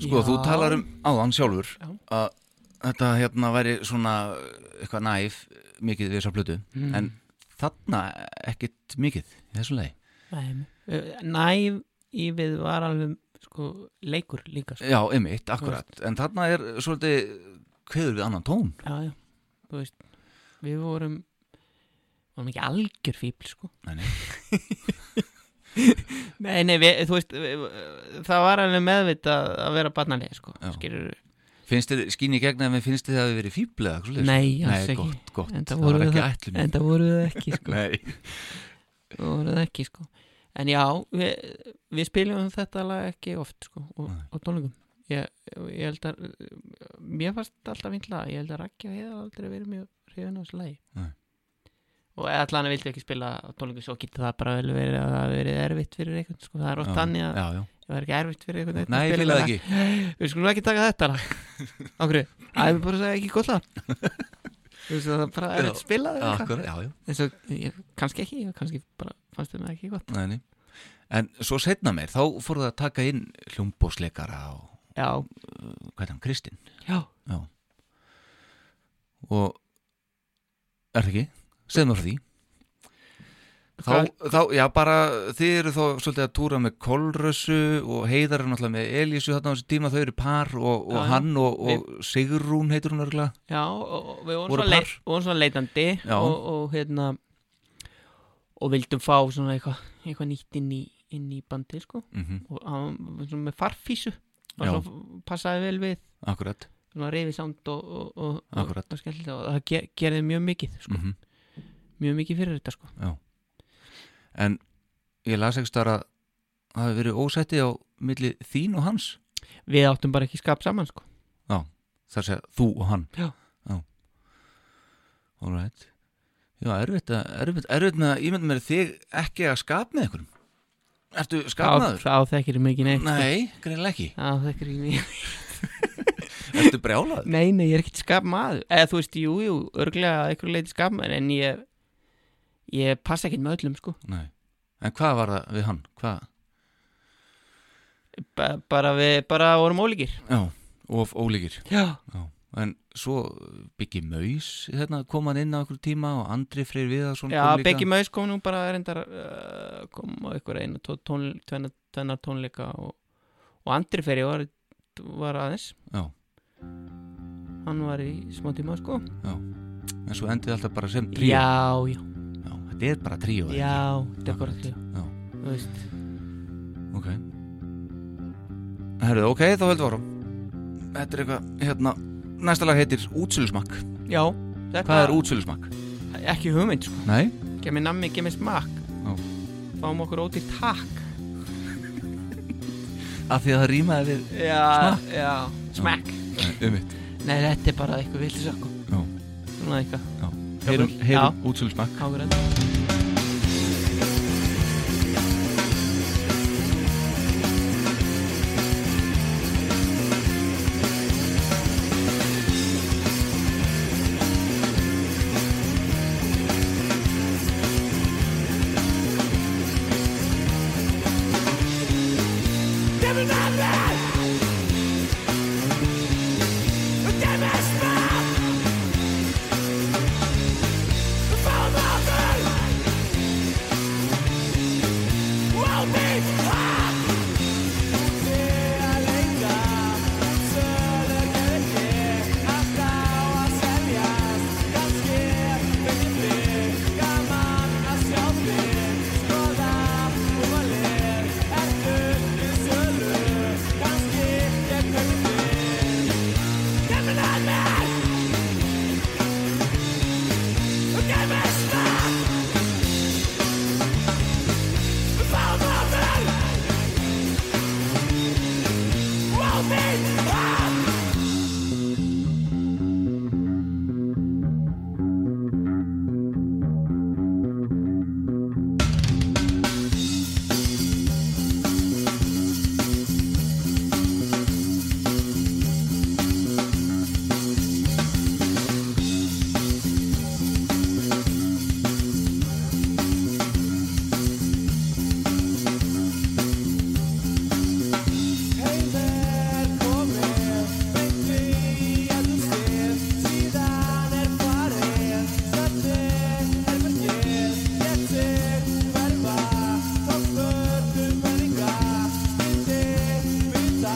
Speaker 1: sko, þú
Speaker 2: Já.
Speaker 1: talar um áðan sjálfur
Speaker 2: Já.
Speaker 1: að þetta hérna væri svona eitthvað næf mikið við þessa plötu
Speaker 2: Mm.
Speaker 1: en þarna ekkit mikið í þessu lagi
Speaker 2: Nei, næf Eh, í við var alveg sko, leikur líka sko.
Speaker 1: Já, einmitt, akkurat, en þarna er svolítið kveður við annan tón
Speaker 2: já, já, þú veist við vorum vorum ekki algjör fíbl sko.
Speaker 1: Nei, nei.
Speaker 2: nei, nei við, þú veist við, það var alveg meðvitað að vera barnalega sko,
Speaker 1: Já.
Speaker 2: skilur
Speaker 1: Finnst þið, skín í gegn að við finnst þið að við verið fíblega eitthvað
Speaker 2: Nei, alls
Speaker 1: Nei,
Speaker 2: ekki.
Speaker 1: gott, gott,
Speaker 2: Enda
Speaker 1: það
Speaker 2: voru
Speaker 1: var
Speaker 2: við
Speaker 1: ekki
Speaker 2: það-
Speaker 1: ætlum
Speaker 2: en það voru það ekki sko.
Speaker 1: Nei,
Speaker 2: það voru það ekki sko. en já, við, við spiljum þetta lag ekki oft sko, og,
Speaker 1: Nei.
Speaker 2: og tónleikum ég, ég held að mér fannst alltaf fínt lag, ég held að Raggi og Heiða hafi aldrei verið mjög hrifin á þessu lagi
Speaker 1: Nei.
Speaker 2: og allan að vildi ekki spila á tónleikum svo getur það bara vel verið að það hafi verið erfitt fyrir einhvern sko. það er oft
Speaker 1: Já,
Speaker 2: þannig að
Speaker 1: já, já.
Speaker 2: það er ekki erfitt fyrir einhvern einn
Speaker 1: Nei,
Speaker 2: að
Speaker 1: ég
Speaker 2: spila
Speaker 1: fíla það
Speaker 2: þetta lag. við skulum ekki taka þetta lag okkur, það er bara að segja ekki gott lag þú veist það er bara er að spila það eitthvað.
Speaker 1: Akkurat, já, já
Speaker 2: eins og ég, kannski ekki, ég, kannski bara fannst þið með ekki gott
Speaker 1: Nei, nei. En svo setna meir, þá fóruð það að taka inn hljómbósleikara og
Speaker 2: já,
Speaker 1: hvað er hann, Kristinn
Speaker 2: já,
Speaker 1: og er það ekki, segð mér frá því þá, þá, já bara þið eru þá svolítið að túra með Kolrössu og Heiðar er náttúrulega með Elísu þarna á þessu tíma, þau eru par og, og
Speaker 2: Já, já.
Speaker 1: hann og, og Sigrún heitur hún örgulega
Speaker 2: já og, og við vorum
Speaker 1: Voru
Speaker 2: svona,
Speaker 1: par?
Speaker 2: leit, vorum svona leitandi
Speaker 1: Já.
Speaker 2: og, og hérna og vildum fá svona eitthvað eitthva nýtt inn í, inn í bandið sko
Speaker 1: mm -hmm,
Speaker 2: og hann var svona með farfísu og
Speaker 1: Já.
Speaker 2: svo passaði vel við
Speaker 1: akkurat
Speaker 2: svona reyfi samt og, og, og, og,
Speaker 1: Akkurat.
Speaker 2: og, skemmtilegt og það ge gerði mjög mikið sko,
Speaker 1: mm
Speaker 2: mjög mikið fyrir þetta sko
Speaker 1: en ég las ekki stara að það hafi verið ósætti á milli þín og hans
Speaker 2: við áttum bara ekki skap saman sko
Speaker 1: þar segja þú og hann
Speaker 2: Já.
Speaker 1: já. all right já, erfitt, að, erfitt, erfitt með að ímynd mér þig ekki að skap með einhverjum ertu skapnaður?
Speaker 2: þá þekkir ég mikið neitt sko.
Speaker 1: nei, greinlega ekki
Speaker 2: þá þekkir ég mikið
Speaker 1: ertu brjálaður?
Speaker 2: Nei, nei, ég er ekkert skap maður eða þú veist, jú, jú, örglega eitthvað leiti skap maður en ég ég passa ekkert með öllum, sko
Speaker 1: nei, en hvað var það við hann? hvað?
Speaker 2: ba bara við, bara vorum ólíkir
Speaker 1: já, of ólíkir
Speaker 2: Já,
Speaker 1: já. en svo byggi maus hérna, kom hann inn á einhver tíma og Andri Freyr Viðarsson
Speaker 2: Já
Speaker 1: kom líka.
Speaker 2: Beggi Maus kom nú bara reyndar uh, kom á ykkur einu tó- tón, tvenna, tvenna tónleika og, og Andri Ferri var, var aðeins
Speaker 1: já,
Speaker 2: hann var í smá tíma, sko
Speaker 1: en svo endið alltaf bara sem tríu
Speaker 2: Já, já,
Speaker 1: Já, þetta er bara tríu
Speaker 2: já, þetta er bara því
Speaker 1: Já.
Speaker 2: Þú veist,
Speaker 1: Ok Herðu, ok, þá heldur varum Þetta er eitthvað, hérna Næsta lag heitir Útsölusmakk
Speaker 2: já þetta,
Speaker 1: Hvað er útsölusmakk?
Speaker 2: Ekki hugmynd, sko
Speaker 1: Nei
Speaker 2: Gemmi nammi, gemmi smakk
Speaker 1: Já.
Speaker 2: Fáum okkur óti takk
Speaker 1: Af því að það rýmaði við
Speaker 2: Já, já Smack
Speaker 1: Umvitt
Speaker 2: Nei, þetta er bara eitthvað viltis okkur
Speaker 1: Já.
Speaker 2: Svona eitthvað
Speaker 1: Heyrum,
Speaker 2: Já.
Speaker 1: heyrum útsölusmakk
Speaker 2: Ágræð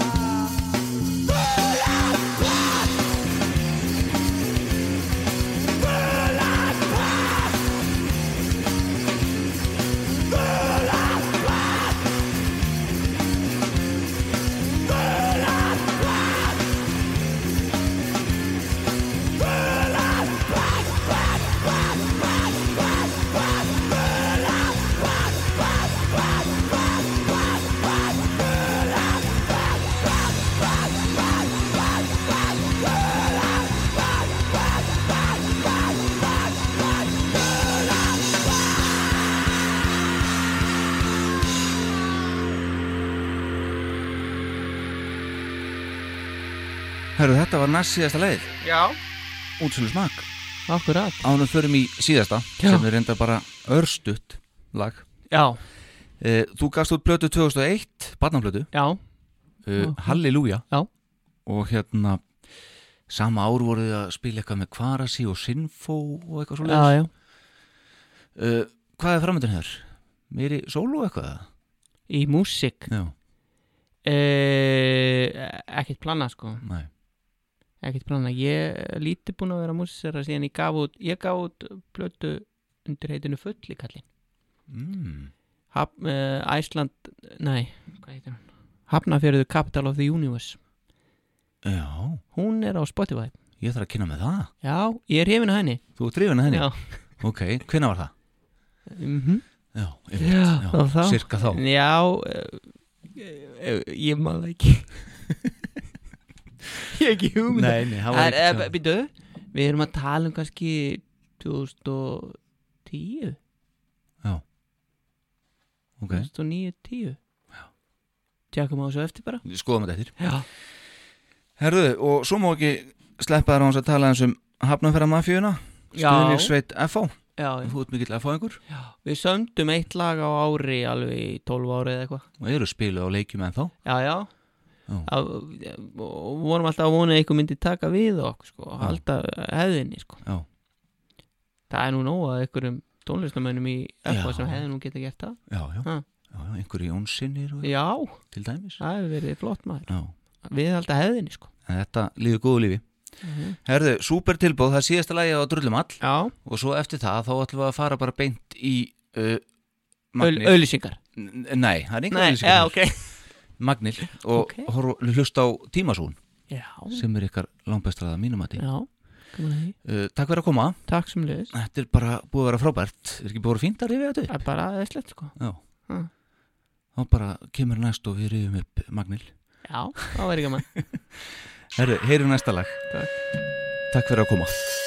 Speaker 1: Herðu, þetta var næst síðasta leið
Speaker 2: Já
Speaker 1: Útsölusmakk
Speaker 2: akkurat
Speaker 1: Ánum förum í síðasta
Speaker 2: Já.
Speaker 1: sem er reynda bara örstutt lag
Speaker 2: Já,
Speaker 1: Eh, Þú gafst út plötu 2001, barnamplötu,
Speaker 2: já,
Speaker 1: uh,
Speaker 2: Já.
Speaker 1: Halleluja
Speaker 2: Já.
Speaker 1: Og hérna, sama ár voru þið að spila eitthvað með Kvarasi og Sinfó og eitthvað svo
Speaker 2: já, já
Speaker 1: uh, Hvað er framöndin hér? Meiri sólu eitthvað? eða?
Speaker 2: Í músík
Speaker 1: Já,
Speaker 2: eh, Ekkert plana sko
Speaker 1: næ
Speaker 2: Ekkert plana Ég er lítið búin að vera músísera síðan ég gaf út Ég gaf út plötu undir heitinu fulli kallinn
Speaker 1: mm.
Speaker 2: Haf, eh, Æsland, nei, hvað heitir hún? Hafnafjörðu Capital of the Universe
Speaker 1: Já,
Speaker 2: Hún er á Spotify
Speaker 1: ég þarf að kynna með það
Speaker 2: Já, ég er hefinn að henni
Speaker 1: Þú er drifin að henni?
Speaker 2: Já,
Speaker 1: Ok, hvenna var það?
Speaker 2: mm
Speaker 1: Já,
Speaker 2: Já, þá-
Speaker 1: já
Speaker 2: þá.
Speaker 1: cirka þá
Speaker 2: Já eh, eh, Ég maður ekki Ég hef ekki hugmynd
Speaker 1: Nei, nei, það
Speaker 2: Það
Speaker 1: var
Speaker 2: er, eh,
Speaker 1: ekki
Speaker 2: býtu, við erum að tala um kannski 2010
Speaker 1: Ok,
Speaker 2: 2009-10 Tjekkum á þessu eftir bara
Speaker 1: skoðum þetta eftir
Speaker 2: Já,
Speaker 1: Herðu, og svo má ekki sleppa þér á hans að tala eins um hafnumferða mafíuna
Speaker 2: Já.
Speaker 1: Stuðningsveit FH,
Speaker 2: já,
Speaker 1: þú ert mikill FH-ingur
Speaker 2: já Við sömdum eitt lag á ári alveg í 12 ári eða eitthvað
Speaker 1: og eru spiluð á leikjum ennþá
Speaker 2: Já, já
Speaker 1: Já.
Speaker 2: Það- og vorum alltaf að vona að eitthvað myndi taka við okkur sko, og
Speaker 1: Já.
Speaker 2: halda hefðinni sko.
Speaker 1: Já.
Speaker 2: það er nú nóg að einhverjum tónlistamönnum í
Speaker 1: Já.
Speaker 2: eitthvað sem hefði nú geta gert það
Speaker 1: Já, já,
Speaker 2: Ha.
Speaker 1: já, já einhverju jónsinnir og
Speaker 2: já,
Speaker 1: til dæmis
Speaker 2: það hefur verið flott maður
Speaker 1: Já,
Speaker 2: við halda hefðinni sko.
Speaker 1: en þetta líður góðu lífi
Speaker 2: Mhm.
Speaker 1: Herðu, súper tilbúð, það er síðasta lagi á drullum all
Speaker 2: já,
Speaker 1: og svo eftir það þá ætlum við að fara bara beint í uh,
Speaker 2: Öl,
Speaker 1: Magnil
Speaker 2: öllisingar
Speaker 1: N- Nei, það er
Speaker 2: Nei,
Speaker 1: einhverjum
Speaker 2: já, ok
Speaker 1: Magnil og
Speaker 2: Ok.
Speaker 1: okay. hlusta á tímasún
Speaker 2: já,
Speaker 1: sem er ykkar langbestraða mínumati
Speaker 2: já, gaman að því.
Speaker 1: uh, Takk fyrir að koma
Speaker 2: takk sem liðis
Speaker 1: Þetta er bara búið að vera frábært Er ekki búið að vera fínt að rifja þetta upp?
Speaker 2: það er bara aðeinslegt sko.
Speaker 1: Já
Speaker 2: Mm.
Speaker 1: Þá bara kemur næst og við rifjum upp Magnil
Speaker 2: já, það verður gaman
Speaker 1: Herru, heyrum næsta lag
Speaker 2: Takk.
Speaker 1: Takk fyrir að koma